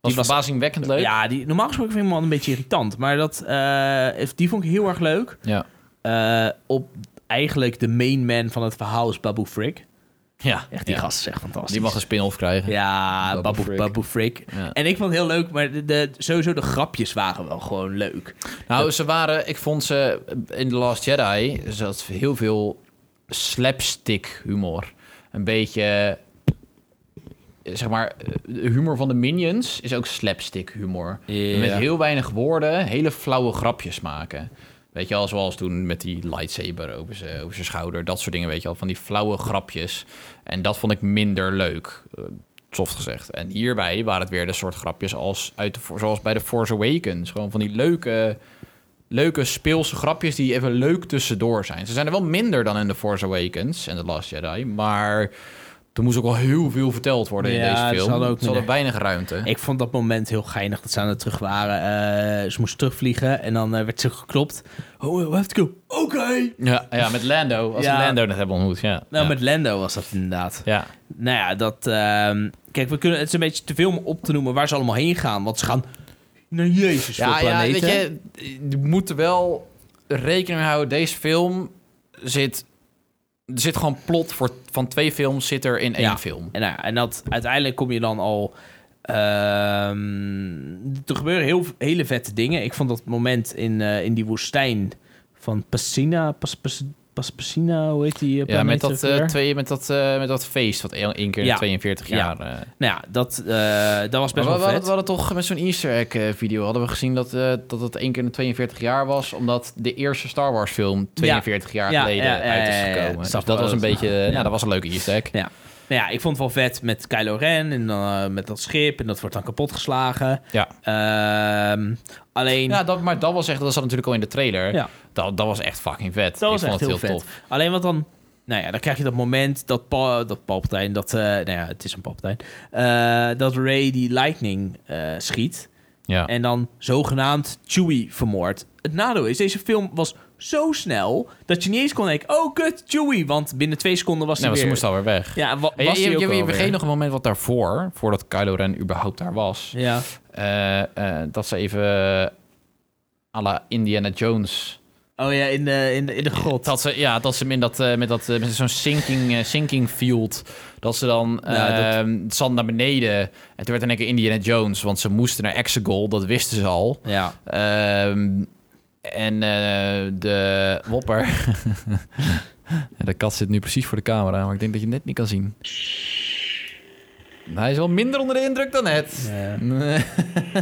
Speaker 2: was
Speaker 1: was-
Speaker 2: verbazingwekkend leuk.
Speaker 1: Ja, die, normaal gesproken vind ik hem wel een beetje irritant. Maar dat, eh, die vond ik heel erg leuk.
Speaker 2: Ja.
Speaker 1: Eh, op eigenlijk de main man van het verhaal is Babu Frick.
Speaker 2: Ja.
Speaker 1: Echt, die
Speaker 2: Ja.
Speaker 1: gast is echt fantastisch.
Speaker 2: Die mag een spin-off krijgen.
Speaker 1: Ja,
Speaker 2: Babu
Speaker 1: Babu Frick.
Speaker 2: Frick.
Speaker 1: Frick.
Speaker 2: Ja.
Speaker 1: En ik vond het heel leuk, maar de, de- sowieso de grapjes waren wel gewoon leuk.
Speaker 2: Nou, ze waren, ik vond ze in The Last Jedi, ze had heel veel slapstick humor. Een beetje, eh, zeg maar, eh, de humor van de Minions is ook slapstick humor.
Speaker 1: Ja.
Speaker 2: Met heel weinig woorden, hele flauwe grapjes maken. Weet je al, zoals toen met die lightsaber over zijn, over zijn schouder, dat soort dingen, weet je al, van die flauwe grapjes. En dat vond ik minder leuk. eh, Soft gezegd. En hierbij waren het weer de soort grapjes als uit de, zoals bij The Force Awakens. Gewoon van die leuke, leuke speelse grapjes die even leuk tussendoor zijn. Ze zijn er wel minder dan in The Force Awakens en The Last Jedi. Maar er moest ook wel heel veel verteld worden in
Speaker 1: Ja,
Speaker 2: deze
Speaker 1: ze
Speaker 2: film.
Speaker 1: hadden ook
Speaker 2: Ze hadden
Speaker 1: minder-
Speaker 2: weinig ruimte.
Speaker 1: Ik vond dat moment heel geinig dat ze aan het terug waren. Eh, ze moest terugvliegen en dan eh, werd ze geklopt. Oh, we have to go. Oké.
Speaker 2: Ja, ja, met Lando. Als
Speaker 1: Ja.
Speaker 2: we Lando net hebben ontmoet, ja.
Speaker 1: Nou,
Speaker 2: ja.
Speaker 1: met Lando was dat inderdaad.
Speaker 2: Ja.
Speaker 1: Nou ja, dat... ehm, kijk, we kunnen, het is een beetje te veel om op te noemen waar ze allemaal heen gaan. Want ze gaan naar Jezus
Speaker 2: Ja,
Speaker 1: voor
Speaker 2: ja, weet
Speaker 1: planeten.
Speaker 2: je, je moet er wel rekening mee houden. Deze film zit... Er zit gewoon plot voor, van twee films zit er in één
Speaker 1: Ja.
Speaker 2: film.
Speaker 1: En, nou ja, en dat, uiteindelijk kom je dan al. ehm, er gebeuren heel, hele vette dingen. Ik vond dat moment in, eh, in die woestijn van Pasina. Pas, pas, Pas- Pasina, hoe heet die? eh,
Speaker 2: Ja, met
Speaker 1: planeet
Speaker 2: dat,
Speaker 1: ook
Speaker 2: eh,
Speaker 1: weer?
Speaker 2: twee, met, dat, eh, met dat feest, wat één één keer in
Speaker 1: Ja.
Speaker 2: 42
Speaker 1: Ja.
Speaker 2: jaar... eh,
Speaker 1: Nou ja, dat, eh, dat was
Speaker 2: Maar
Speaker 1: best
Speaker 2: we, we
Speaker 1: wel
Speaker 2: hadden,
Speaker 1: vet.
Speaker 2: we hadden toch met zo'n Easter egg eh, video hadden we gezien dat, eh, dat het één keer in de 42 jaar was, omdat de eerste Star Wars film 42 jaar
Speaker 1: Ja,
Speaker 2: geleden
Speaker 1: ja, ja,
Speaker 2: uit
Speaker 1: ja,
Speaker 2: is
Speaker 1: ja, ja.
Speaker 2: gekomen.
Speaker 1: Dat
Speaker 2: Dus
Speaker 1: snap
Speaker 2: dat
Speaker 1: ik
Speaker 2: was
Speaker 1: wel.
Speaker 2: een beetje, eh,
Speaker 1: Ja.
Speaker 2: ja, dat was een leuke Easter egg.
Speaker 1: Ja. Nou ja, ik vond het wel vet met Kylo Ren en dan eh, met dat schip. En dat wordt dan kapotgeslagen.
Speaker 2: Ja.
Speaker 1: Ehm, alleen...
Speaker 2: Ja, dat, maar dat was echt, dat zat natuurlijk al in de trailer.
Speaker 1: Ja.
Speaker 2: Dat, dat was echt fucking vet.
Speaker 1: Dat was
Speaker 2: ik
Speaker 1: echt
Speaker 2: vond
Speaker 1: heel,
Speaker 2: het heel
Speaker 1: vet.
Speaker 2: tof.
Speaker 1: Alleen wat dan Nou ja, dan krijg je dat moment dat, pa, dat Palpatine, dat, eh, nou ja, het is een Palpatine, eh, dat Ray die lightning eh, schiet
Speaker 2: Ja.
Speaker 1: en dan zogenaamd Chewie vermoordt. Het nadeel is, deze film was zo snel dat je niet eens kon denken, oh kut, Chewie, want binnen twee seconden was hij
Speaker 2: nee, want ze
Speaker 1: weer...
Speaker 2: moest alweer weg.
Speaker 1: Ja, wa-
Speaker 2: Je,
Speaker 1: was hij
Speaker 2: je,
Speaker 1: ook
Speaker 2: je, je
Speaker 1: alweer.
Speaker 2: vergeet nog een moment wat daarvoor, voordat Kylo Ren überhaupt daar was,
Speaker 1: Ja,
Speaker 2: eh, eh, dat ze even eh, à la Indiana Jones.
Speaker 1: oh ja, in de, in de, in de grot.
Speaker 2: Dat ze, ja, dat ze hem in dat, eh, met, dat, eh, met zo'n sinking, eh, sinking field, dat ze dan
Speaker 1: Ja, dat-
Speaker 2: ehm, het zand naar beneden. En toen werd in één keer Indiana Jones, want ze moesten naar Exegol, dat wisten ze al.
Speaker 1: Ja.
Speaker 2: Ehm, en eh, de wopper. de kat zit nu precies voor de camera, maar ik denk dat je het net niet kan zien. Hij is wel minder onder de indruk dan net.
Speaker 1: Ja.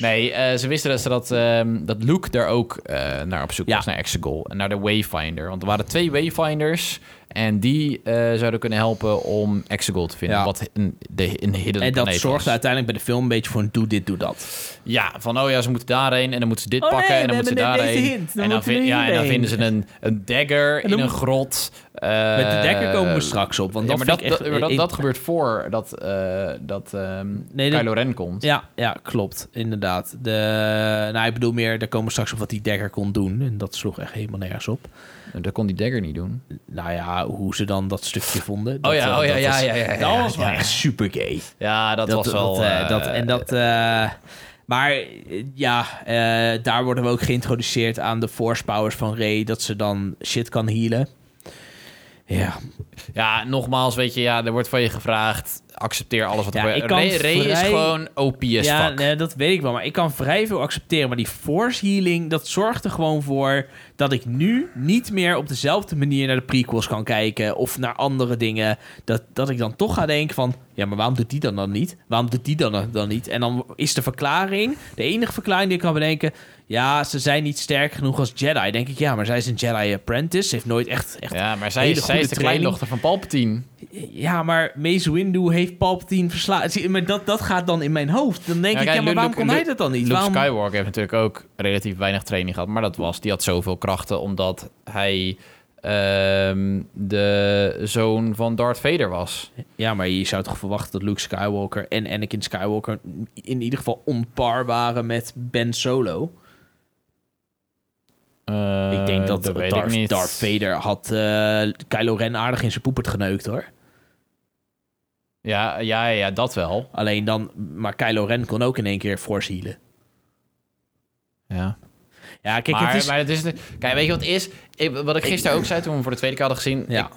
Speaker 2: nee, eh, ze wisten dat, ze dat, ehm, dat Luke daar ook eh, naar op zoek
Speaker 1: Ja.
Speaker 2: was, naar Exegol. En naar de Wayfinder. Want er waren twee Wayfinders. En die eh, zouden kunnen helpen om Exegol te vinden.
Speaker 1: Ja.
Speaker 2: Wat een, de, een hidden
Speaker 1: En dat
Speaker 2: planeet was.
Speaker 1: zorgde uiteindelijk bij de film een beetje voor een doe dit, doe dat.
Speaker 2: Ja, van oh ja, ze moeten daarheen en dan moeten ze dit
Speaker 1: Oh
Speaker 2: pakken
Speaker 1: nee,
Speaker 2: en dan
Speaker 1: we
Speaker 2: moeten ze
Speaker 1: hebben net
Speaker 2: daarheen.
Speaker 1: deze hint. Dan
Speaker 2: en, dan
Speaker 1: moeten we
Speaker 2: vin- ja, en dan
Speaker 1: hierheen.
Speaker 2: vinden ze een, een dagger
Speaker 1: dan
Speaker 2: in een
Speaker 1: moet-
Speaker 2: grot.
Speaker 1: Met de dekker
Speaker 2: eh,
Speaker 1: komen we straks op,
Speaker 2: ja,
Speaker 1: want
Speaker 2: maar
Speaker 1: dat
Speaker 2: dat,
Speaker 1: vind ik echt...
Speaker 2: dat, maar dat,
Speaker 1: eh,
Speaker 2: dat gebeurt voor dat, eh, dat ehm
Speaker 1: Nee, dat-
Speaker 2: Kylo Ren komt.
Speaker 1: Ja, ja, klopt. Inderdaad. De, nou, ik bedoel meer, daar komen we straks op wat die dekker kon doen. En dat sloeg echt helemaal nergens op.
Speaker 2: En Dat kon die dagger niet doen.
Speaker 1: Nou ja, hoe ze dan dat stukje vonden.
Speaker 2: Oh ja,
Speaker 1: eh,
Speaker 2: oh ja,
Speaker 1: dat
Speaker 2: ja,
Speaker 1: was-
Speaker 2: ja, ja, ja,
Speaker 1: Dat was
Speaker 2: ja,
Speaker 1: wel
Speaker 2: ja.
Speaker 1: echt super gay.
Speaker 2: Ja, dat, was wel...
Speaker 1: Dat, eh,
Speaker 2: eh,
Speaker 1: dat, en dat... eh, maar eh, ja, eh, daar worden we ook geïntroduceerd aan de force powers van Rey. Dat ze dan shit kan healen. Ja,
Speaker 2: Ja, nogmaals, weet je, ja, er wordt van je gevraagd, accepteer alles wat
Speaker 1: Ja,
Speaker 2: er
Speaker 1: ik
Speaker 2: gebeurt.
Speaker 1: kan
Speaker 2: Ray, Ray is
Speaker 1: vrij-
Speaker 2: gewoon OP as
Speaker 1: Ja,
Speaker 2: fuck.
Speaker 1: nee, dat weet ik wel. Maar ik kan vrij veel accepteren. Maar die force healing, dat zorgt er gewoon voor dat ik nu niet meer op dezelfde manier naar de prequels kan kijken. Of naar andere dingen. Dat, dat ik dan toch ga denken van, ja, maar waarom doet die dan dan niet? Waarom doet die dan dan niet? En dan is de verklaring, de enige verklaring die ik kan bedenken... Ja, ze zijn niet sterk genoeg als Jedi. Denk ik, ja, maar zij is een Jedi apprentice. Ze heeft nooit echt... echt
Speaker 2: Ja, maar zij,
Speaker 1: Hele
Speaker 2: is- zij
Speaker 1: goede
Speaker 2: is de
Speaker 1: training.
Speaker 2: kleindochter van Palpatine.
Speaker 1: ja, maar Mace Windu heeft Palpatine verslagen. Zie, Maar dat, dat gaat dan in mijn hoofd. Dan denk
Speaker 2: Ja,
Speaker 1: ik,
Speaker 2: kijk,
Speaker 1: ja, maar
Speaker 2: Luke-
Speaker 1: waarom kon
Speaker 2: Luke-
Speaker 1: hij dat dan niet?
Speaker 2: Luke
Speaker 1: waarom...
Speaker 2: Skywalker heeft natuurlijk ook relatief weinig training gehad. Maar dat was, die had zoveel krachten omdat hij ehm, de zoon van Darth Vader was.
Speaker 1: Ja, maar je zou toch verwachten dat Luke Skywalker en Anakin Skywalker in ieder geval onpaar waren met Ben Solo. ik denk dat,
Speaker 2: Eh, dat weet
Speaker 1: Darth,
Speaker 2: ik niet.
Speaker 1: Darth Vader had eh, Kylo Ren aardig in zijn poepert geneukt hoor.
Speaker 2: Ja, ja, ja, dat wel.
Speaker 1: Alleen dan, maar Kylo Ren kon ook in één keer force healen.
Speaker 2: Ja.
Speaker 1: Ja, kijk,
Speaker 2: maar,
Speaker 1: het is...
Speaker 2: maar het is... Kijk, weet je wat het is? Ik- wat ik gisteren ook zei toen we hem voor de tweede keer hadden gezien.
Speaker 1: ja,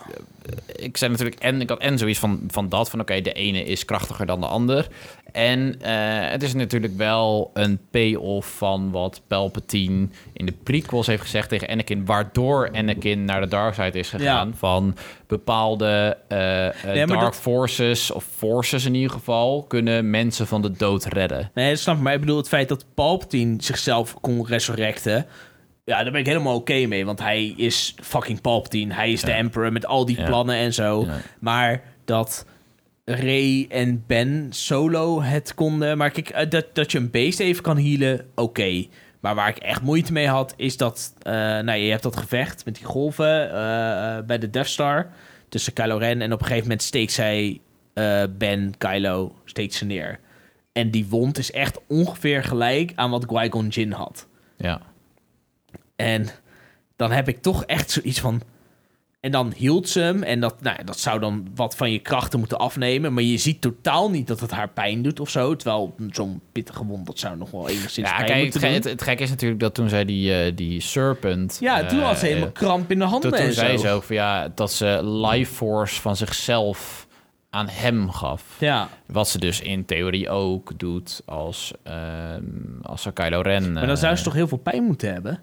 Speaker 2: ik zei natuurlijk en ik had en zoiets van, van dat van oké de ene is krachtiger dan de ander en eh, het is natuurlijk wel een payoff van wat Palpatine in de prequels heeft gezegd tegen Anakin waardoor Anakin naar de dark side is gegaan
Speaker 1: Ja.
Speaker 2: van bepaalde eh, eh,
Speaker 1: Nee, maar
Speaker 2: dark
Speaker 1: dat-
Speaker 2: forces of forces in ieder geval kunnen mensen van de dood redden
Speaker 1: nee, dat snap ik. Maar ik bedoel, het feit dat Palpatine zichzelf kon resurrecten... Ja, daar ben ik helemaal oké mee, want hij is fucking Palpatine. Hij is de emperor met al die
Speaker 2: Ja.
Speaker 1: plannen en zo.
Speaker 2: Ja.
Speaker 1: Maar dat Ray en Ben solo het konden. Maar kijk, eh, dat, dat je een beest even kan healen, oké. Maar waar ik echt moeite mee had, is dat... eh, nou, je hebt dat gevecht met die golven eh, eh, bij de Death Star. Tussen Kylo Ren. En op een gegeven moment steekt zij eh, Ben, Kylo, steekt ze neer. En die wond is echt ongeveer gelijk aan wat Qui-Gon Jinn had.
Speaker 2: ja
Speaker 1: En dan heb ik toch echt zoiets van. En dan hield ze hem. En dat, nou, ja, dat zou dan wat van je krachten moeten afnemen. Maar je ziet totaal niet dat het haar pijn doet of zo. Terwijl zo'n pittige wond, dat zou nog wel enigszins
Speaker 2: ja
Speaker 1: pijn
Speaker 2: kijk het,
Speaker 1: moeten
Speaker 2: ge-
Speaker 1: doen.
Speaker 2: het, het gekke is natuurlijk dat toen zij die eh, die serpent
Speaker 1: ja, toen had ze
Speaker 2: eh,
Speaker 1: helemaal kramp in de handen
Speaker 2: Toen, toen
Speaker 1: en zo.
Speaker 2: zei ze ook van ja, dat ze life force van zichzelf aan hem gaf.
Speaker 1: Ja,
Speaker 2: Wat ze dus in theorie ook doet als, ehm als ze Kylo Ren...
Speaker 1: maar dan
Speaker 2: Eh.
Speaker 1: zou ze toch heel veel pijn moeten hebben?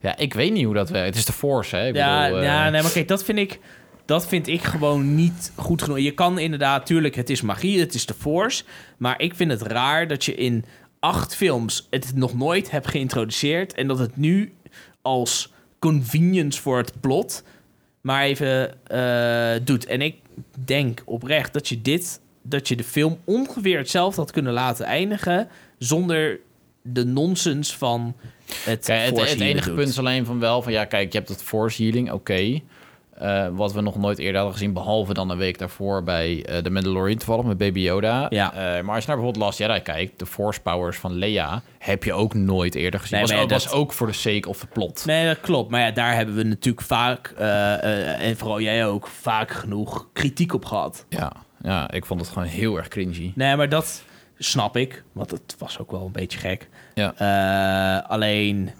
Speaker 2: Ja, ik weet niet hoe dat werkt. Het is de force, hè? Ik
Speaker 1: ja,
Speaker 2: bedoel, eh,
Speaker 1: ja, nee, maar kijk, dat vind ik... Dat vind ik gewoon niet goed genoeg. Je kan inderdaad, tuurlijk, het is magie, het is de force. Maar ik vind het raar dat je in acht films het nog nooit hebt geïntroduceerd. En dat het nu als convenience voor het plot maar even eh, doet. En ik denk oprecht dat je dit, dat je de film ongeveer hetzelfde had kunnen laten eindigen. Zonder de nonsens van het.
Speaker 2: Kijk, het,
Speaker 1: force
Speaker 2: het
Speaker 1: healing
Speaker 2: enige
Speaker 1: doet.
Speaker 2: punt is alleen van wel van ja, kijk, je hebt dat force healing, oké. Eh, eh, wat we nog nooit eerder hadden gezien, behalve dan een week daarvoor bij eh The Mandalorian toevallig met Baby Yoda.
Speaker 1: Ja.
Speaker 2: Eh, maar als je naar bijvoorbeeld Last Jedi kijkt, de Force Powers van Leia, heb je ook nooit eerder gezien.
Speaker 1: Nee,
Speaker 2: was,
Speaker 1: maar
Speaker 2: ook,
Speaker 1: ja,
Speaker 2: was
Speaker 1: dat-
Speaker 2: ook voor de sake of the plot.
Speaker 1: Nee, dat klopt. Maar ja, daar hebben we natuurlijk vaak, eh, eh, en vooral jij ook, vaak genoeg kritiek op gehad.
Speaker 2: Ja, ja, ik vond het gewoon heel erg cringy.
Speaker 1: Nee, maar dat snap ik, want het was ook wel een beetje gek.
Speaker 2: Ja.
Speaker 1: Eh, alleen,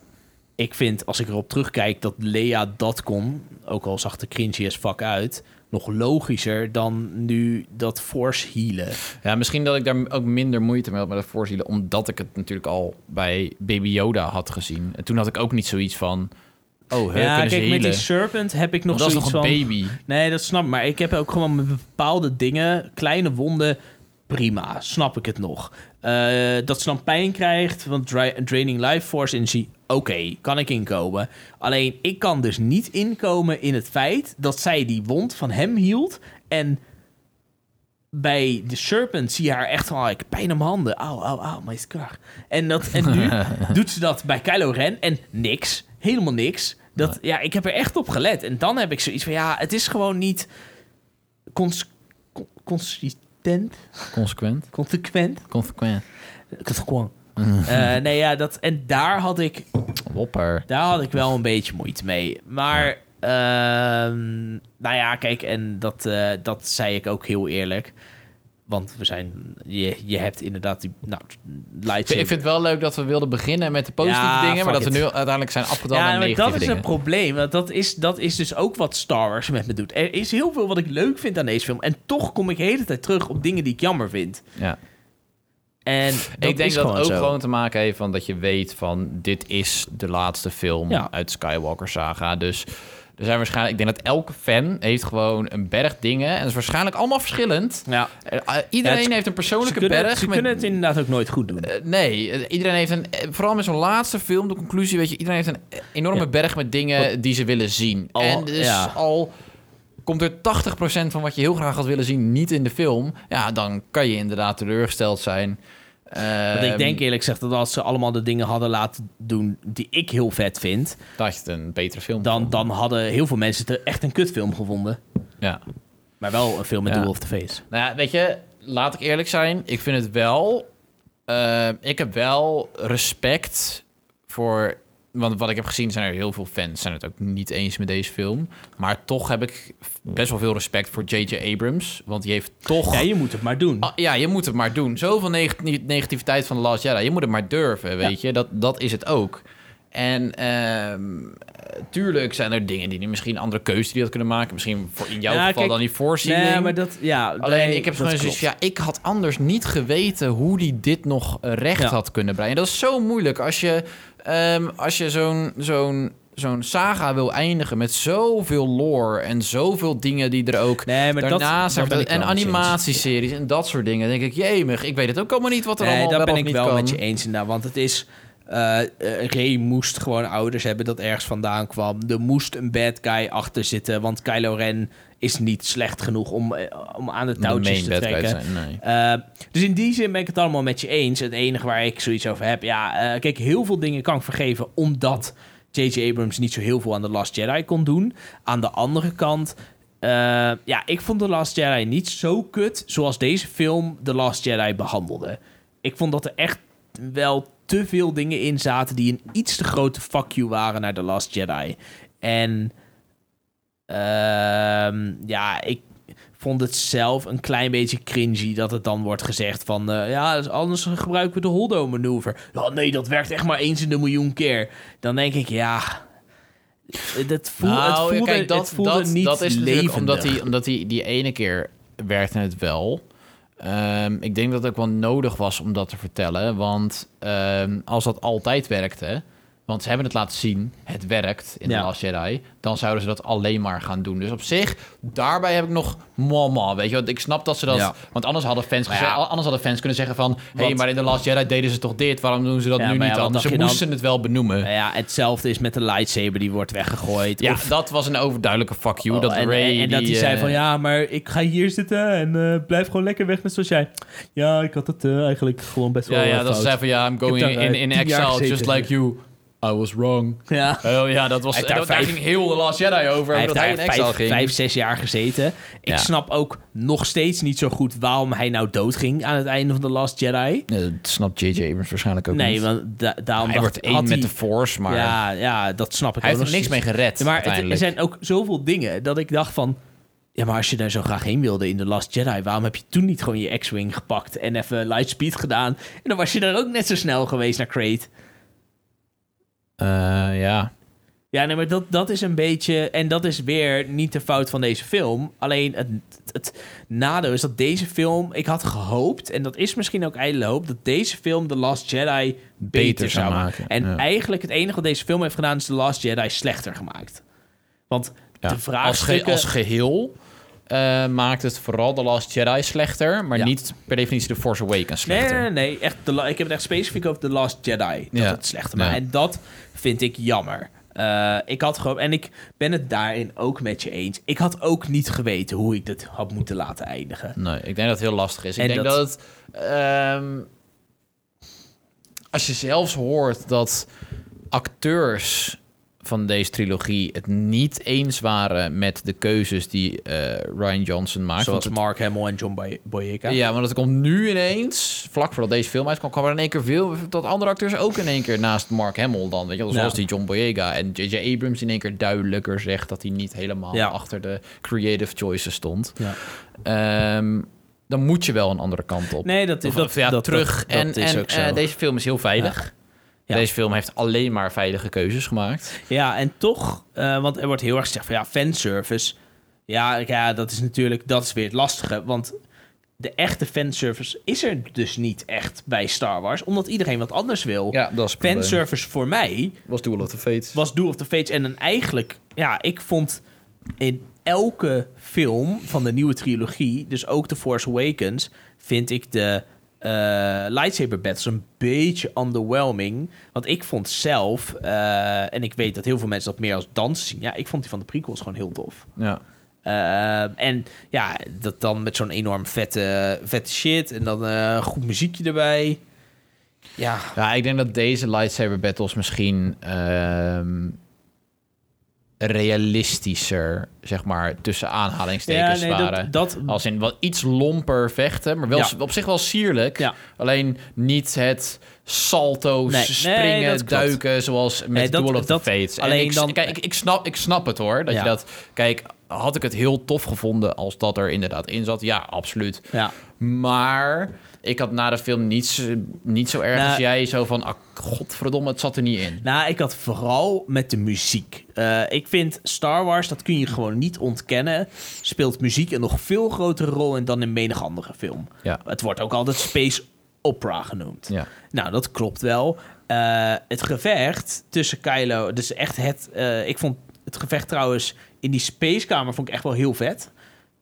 Speaker 1: ik vind als ik erop terugkijk dat Lea dat kon, ook al zag de cringy as fuck uit, nog logischer dan nu dat force healen.
Speaker 2: Ja, misschien dat ik daar ook minder moeite mee had met het voorzielen, omdat ik het natuurlijk al bij Baby Yoda had gezien. En toen had ik ook niet zoiets van, oh, hè,
Speaker 1: ja, kijk,
Speaker 2: kunnen ze
Speaker 1: met die
Speaker 2: healen?
Speaker 1: serpent heb ik nog
Speaker 2: Want dat is nog
Speaker 1: zoiets
Speaker 2: een
Speaker 1: van...
Speaker 2: baby.
Speaker 1: Nee, dat snap ik. Maar ik heb ook gewoon met bepaalde dingen, kleine wonden, prima. Snap ik het nog. Eh, dat ze dan pijn krijgt, want dra- draining life force energy, oké, kan ik inkomen. Alleen, ik kan dus niet inkomen in het feit dat zij die wond van hem hield en... Bij de Serpent zie je haar echt van... ah, Ik heb pijn aan mijn handen. Auw, auw, auw. Mijn kracht. En, dat, en nu doet ze dat bij Kylo Ren en niks. Helemaal niks. Dat, Ja, ik heb er echt op gelet. En dan heb ik zoiets van... Ja, het is gewoon niet cons con- consistent,
Speaker 2: Consequent.
Speaker 1: consequent.
Speaker 2: Consequent.
Speaker 1: Consequent. Eh, nee, ja, dat, en daar had, ik,
Speaker 2: Wopper.
Speaker 1: daar had ik wel een beetje moeite mee. Maar, ehm, nou ja, kijk, en dat, eh, dat zei ik ook heel eerlijk. Want we zijn, je, je hebt inderdaad die, nou,
Speaker 2: Ik vind
Speaker 1: lightsaber.
Speaker 2: het wel leuk dat we wilden beginnen met de positieve
Speaker 1: Ja,
Speaker 2: dingen, maar dat
Speaker 1: fuck
Speaker 2: we
Speaker 1: it.
Speaker 2: nu uiteindelijk zijn afgedaan
Speaker 1: Ja,
Speaker 2: naar
Speaker 1: maar
Speaker 2: negatieve
Speaker 1: dat is
Speaker 2: dingen.
Speaker 1: een probleem. Want dat is, dat is dus ook wat Star Wars met me doet. Er is heel veel wat ik leuk vind aan deze film. En toch kom ik de hele tijd terug op dingen die ik jammer vind.
Speaker 2: ja.
Speaker 1: En
Speaker 2: ik denk
Speaker 1: is
Speaker 2: dat het ook
Speaker 1: zo.
Speaker 2: gewoon te maken heeft van dat je weet van dit is de laatste film
Speaker 1: Ja.
Speaker 2: uit Skywalker Saga. Dus er zijn waarschijnlijk, ik denk dat elke fan heeft gewoon een berg dingen en het is waarschijnlijk allemaal verschillend.
Speaker 1: Ja.
Speaker 2: Eh, eh, Iedereen
Speaker 1: Ja, het-
Speaker 2: heeft
Speaker 1: Ze
Speaker 2: een persoonlijke
Speaker 1: kunnen,
Speaker 2: berg.
Speaker 1: ze
Speaker 2: met-
Speaker 1: kunnen het inderdaad ook nooit goed doen.
Speaker 2: Eh, nee, eh, iedereen heeft een. eh, Vooral met zo'n laatste film, de conclusie, weet je, iedereen heeft een enorme
Speaker 1: Ja.
Speaker 2: berg met dingen die ze willen zien.
Speaker 1: Al-
Speaker 2: en dus
Speaker 1: ja.
Speaker 2: al komt er 80% van wat je heel graag had willen zien niet in de film, ja, dan kan je inderdaad teleurgesteld zijn.
Speaker 1: Want
Speaker 2: Ehm,
Speaker 1: ik denk eerlijk gezegd dat als ze allemaal de dingen hadden laten doen die ik heel vet vind,
Speaker 2: dat je het een betere film.
Speaker 1: dan, dan hadden heel veel mensen het echt een kutfilm gevonden.
Speaker 2: Ja.
Speaker 1: Maar wel een film met
Speaker 2: Ja.
Speaker 1: Duel of the Face.
Speaker 2: Nou ja, weet je, laat ik eerlijk zijn. Ik vind het wel. eh, ik heb wel respect voor. Want wat ik heb gezien zijn er heel veel fans zijn het ook niet eens met deze film. Maar toch heb ik best wel veel respect voor J.J. Abrams. Want die heeft toch.
Speaker 1: Ja, je moet het maar doen.
Speaker 2: Ah, ja, je moet het maar doen. Zoveel neg- neg- negativiteit van de Last Jedi. Je moet het maar durven, weet je. Dat, dat is het ook. En ehm, tuurlijk zijn er dingen die hij misschien andere keuzes die hij had kunnen maken. Misschien voor in jouw
Speaker 1: Ja,
Speaker 2: geval
Speaker 1: kijk,
Speaker 2: dan die voorziening.
Speaker 1: Nee, maar dat, ja,
Speaker 2: Alleen
Speaker 1: nee,
Speaker 2: ik heb
Speaker 1: dat
Speaker 2: gewoon zoiets
Speaker 1: klopt.
Speaker 2: van, ja, ik had anders niet geweten hoe die dit nog eh, recht
Speaker 1: Ja.
Speaker 2: had kunnen brengen. Dat is zo moeilijk als je, ehm, als je zo'n, zo'n, zo'n saga wil eindigen met zoveel lore en zoveel dingen die er ook
Speaker 1: Nee, maar dat-
Speaker 2: daarna zijn.
Speaker 1: daar ben ik
Speaker 2: en
Speaker 1: wel met je eens.
Speaker 2: animatieseries en dat soort dingen. Dan denk ik, jemig, ik weet het ook allemaal niet wat er
Speaker 1: Nee,
Speaker 2: allemaal
Speaker 1: daar ben
Speaker 2: of
Speaker 1: ik
Speaker 2: niet
Speaker 1: wel
Speaker 2: kan.
Speaker 1: met je eens inderdaad. Want het is... eh eh, Ray moest gewoon ouders hebben dat ergens vandaan kwam. Er moest een bad guy achter zitten. Want Kylo Ren is niet slecht genoeg om, eh, om aan de
Speaker 2: de
Speaker 1: touwtjes te
Speaker 2: main bad guy
Speaker 1: trekken.
Speaker 2: zijn, nee.
Speaker 1: Eh, dus in die zin ben ik het allemaal met je eens. Het enige waar ik zoiets over heb, ja, eh, kijk, heel veel dingen kan ik vergeven omdat J.J. Abrams niet zo heel veel aan The Last Jedi kon doen. Aan de andere kant, eh, ja, ik vond The Last Jedi niet zo kut zoals deze film The Last Jedi behandelde. Ik vond dat er echt wel te veel dingen in zaten die een iets te grote fuck you waren naar The Last Jedi. En ehm, ja, ik vond het zelf een klein beetje cringy dat het dan wordt gezegd van... eh, ja, dus anders gebruiken we de Holdo-manoeuvre. Ja, nee, dat werkt echt maar eens in de miljoen keer. Dan denk ik, ja... eh, Dat voel, het
Speaker 2: Nou,
Speaker 1: voelde,
Speaker 2: kijk, dat,
Speaker 1: het voelde
Speaker 2: dat,
Speaker 1: niet
Speaker 2: dat is natuurlijk
Speaker 1: levendig.
Speaker 2: omdat hij, omdat hij die ene keer werkte het wel. Ehm, ik denk dat het ook wel nodig was om dat te vertellen. Want ehm, als dat altijd werkte, want ze hebben het laten zien, het werkt in de
Speaker 1: Ja.
Speaker 2: Last Jedi, dan zouden ze dat alleen maar gaan doen. Dus op zich, daarbij heb ik nog mama, weet je wat? Ik snap dat ze dat,
Speaker 1: Ja.
Speaker 2: want anders hadden fans,
Speaker 1: Maar ja.
Speaker 2: gezegd- anders hadden fans kunnen zeggen van, hé, hey,
Speaker 1: Want-
Speaker 2: maar in de Last Jedi deden ze toch dit, waarom doen ze dat
Speaker 1: Ja,
Speaker 2: nu
Speaker 1: maar ja,
Speaker 2: niet
Speaker 1: wat
Speaker 2: anders? Ze
Speaker 1: dacht je dan?
Speaker 2: moesten het wel benoemen.
Speaker 1: Nou ja, hetzelfde is met de lightsaber die wordt weggegooid.
Speaker 2: Ja,
Speaker 1: Of-
Speaker 2: dat was een overduidelijke fuck you. dat
Speaker 1: Oh, en, en-
Speaker 2: Ray eh,
Speaker 1: en, dat eh, hij zei van ja, maar ik ga hier zitten en eh, blijf gewoon lekker weg net zoals jij. Ja, ik had het eh, eigenlijk gewoon best
Speaker 2: Ja,
Speaker 1: wel.
Speaker 2: ja,
Speaker 1: eh,
Speaker 2: dat ze
Speaker 1: fout.
Speaker 2: zei van ja, I'm going
Speaker 1: daar,
Speaker 2: in,
Speaker 1: eh,
Speaker 2: in
Speaker 1: tien jaar
Speaker 2: exile
Speaker 1: gezeten.
Speaker 2: just like you. I was wrong.
Speaker 1: Ja.
Speaker 2: Oh ja, dat was,
Speaker 1: Hij heeft
Speaker 2: en dat,
Speaker 1: daar
Speaker 2: daar
Speaker 1: vijf-
Speaker 2: ging heel de Last Jedi over.
Speaker 1: Hij
Speaker 2: dat
Speaker 1: heeft
Speaker 2: hij
Speaker 1: daar
Speaker 2: in exile
Speaker 1: vijf,
Speaker 2: ging.
Speaker 1: vijf, zes jaar gezeten. Ik
Speaker 2: Ja.
Speaker 1: snap ook nog steeds niet zo goed waarom hij nou doodging aan het einde van The Last Jedi.
Speaker 2: Nee, dat snapt J.J. Abrams waarschijnlijk ook
Speaker 1: nee,
Speaker 2: niet.
Speaker 1: want da- daarom
Speaker 2: hij
Speaker 1: dacht,
Speaker 2: wordt één
Speaker 1: had
Speaker 2: met
Speaker 1: hij-
Speaker 2: de Force, maar
Speaker 1: Ja, ja, dat snap ik
Speaker 2: hij
Speaker 1: ook
Speaker 2: heeft er
Speaker 1: nog
Speaker 2: niks mee
Speaker 1: steeds.
Speaker 2: gered
Speaker 1: Ja, maar het, er
Speaker 2: uiteindelijk.
Speaker 1: zijn ook zoveel dingen dat ik dacht van... Ja, maar als je daar zo graag heen wilde in The Last Jedi... waarom heb je toen niet gewoon je X-Wing gepakt en even Lightspeed gedaan? En dan was je daar ook net zo snel geweest naar Crate.
Speaker 2: Eh, ja.
Speaker 1: Ja, nee, maar dat, dat is een beetje... En dat is weer niet de fout van deze film. Alleen het, het nadeel is dat deze film... Ik had gehoopt, en dat is misschien ook ijdele hoop... dat deze film The Last Jedi beter,
Speaker 2: Beter zou
Speaker 1: zou
Speaker 2: maken,
Speaker 1: maken. En
Speaker 2: ja.
Speaker 1: eigenlijk het enige wat deze film heeft gedaan... is The Last Jedi slechter gemaakt. Want
Speaker 2: Ja.
Speaker 1: de
Speaker 2: Als, ge-
Speaker 1: vraagstukken...
Speaker 2: als geheel eh, maakt het vooral The Last Jedi slechter, maar
Speaker 1: Ja.
Speaker 2: niet per definitie The Force Awakens
Speaker 1: Nee,
Speaker 2: slechter.
Speaker 1: nee, nee, nee. Echt, de la- ik heb het echt specifiek over The Last Jedi. Dat
Speaker 2: Ja.
Speaker 1: het slechter maakt.
Speaker 2: Ja.
Speaker 1: En dat vind ik jammer. Eh, ik had gewoon, en ik ben het daarin ook met je eens. Ik had ook niet geweten hoe ik dit had moeten laten eindigen.
Speaker 2: Nee, ik denk dat het heel lastig is. Ik
Speaker 1: En
Speaker 2: denk dat,
Speaker 1: dat-
Speaker 2: het... ehm, als je zelfs hoort dat acteurs van deze trilogie het niet eens waren met de keuzes die eh, Ryan Johnson maakt.
Speaker 1: Zoals
Speaker 2: want
Speaker 1: Mark Hamill en John Boy- Boyega.
Speaker 2: het- ja, want het komt nu ineens, vlak voordat deze film uitkwam, kwam er in één keer veel... dat andere acteurs ook in één keer naast Mark Hamill dan. Weet je, wel,
Speaker 1: Ja.
Speaker 2: zoals die John Boyega en J.J. Abrams in één keer duidelijker zegt... dat hij niet helemaal
Speaker 1: Ja.
Speaker 2: achter de creative choices stond.
Speaker 1: Ja.
Speaker 2: Ehm, dan moet je wel een andere kant op.
Speaker 1: Nee, dat is
Speaker 2: Of,
Speaker 1: dat,
Speaker 2: of ja,
Speaker 1: dat,
Speaker 2: terug.
Speaker 1: dat-
Speaker 2: en
Speaker 1: dat is
Speaker 2: en,
Speaker 1: ook zo.
Speaker 2: eh, deze film is heel veilig.
Speaker 1: Ja.
Speaker 2: Deze film heeft alleen maar veilige keuzes gemaakt.
Speaker 1: Ja, en toch, eh, want er wordt heel erg gezegd van ja, fanservice. Ja, ik- ja, dat is natuurlijk, dat is weer het lastige. Want de echte fanservice is er dus niet echt bij Star Wars, omdat iedereen wat anders wil.
Speaker 2: Ja, dat is
Speaker 1: fanservice voor mij
Speaker 2: Was Duel of the Fates.
Speaker 1: was Duel of the Fates. En dan eigenlijk, ja, ik vond in elke film van de nieuwe trilogie, dus ook The Force Awakens, vind ik de eh, lightsaber battles een beetje underwhelming. Want ik vond zelf, eh, en ik weet dat heel veel mensen dat meer als dans zien, ja, ik vond die van de prequels gewoon heel tof.
Speaker 2: Ja.
Speaker 1: Eh, en ja, dat dan met zo'n enorm vette, vette shit en dan eh, goed muziekje erbij. Ja,
Speaker 2: ja, ik denk dat deze lightsaber battles misschien ehm, realistischer, zeg maar, tussen aanhalingstekens
Speaker 1: ja, nee,
Speaker 2: waren.
Speaker 1: dat, dat
Speaker 2: Als in wel iets lomper vechten, maar wel
Speaker 1: Ja.
Speaker 2: s- op zich wel sierlijk.
Speaker 1: Ja.
Speaker 2: Alleen niet het salto's,
Speaker 1: Nee, nee,
Speaker 2: springen,
Speaker 1: dat klopt.
Speaker 2: duiken zoals met
Speaker 1: Nee, dat-
Speaker 2: Duel of
Speaker 1: dat-
Speaker 2: the Fates. En
Speaker 1: alleen
Speaker 2: ik, s-
Speaker 1: dan-
Speaker 2: kijk, ik, ik, snap, ik snap het hoor, dat
Speaker 1: Ja.
Speaker 2: je dat... Kijk, had ik het heel tof gevonden als dat er inderdaad in zat? Ja, absoluut.
Speaker 1: ja.
Speaker 2: Maar ik had na de film niet, zo- niet zo erg
Speaker 1: Nou-
Speaker 2: als jij zo van... ah, godverdomme, het zat er niet in.
Speaker 1: Nou, ik had vooral met de muziek. Eh, ik vind Star Wars, dat kun je gewoon niet ontkennen, speelt muziek een nog veel grotere rol in dan in menig andere film.
Speaker 2: Ja.
Speaker 1: Het wordt ook altijd space opera genoemd.
Speaker 2: Ja.
Speaker 1: Nou, dat klopt wel. Eh, het gevecht tussen Kylo, dus echt het, eh, ik vond het gevecht trouwens in die spacekamer vond ik echt wel heel vet.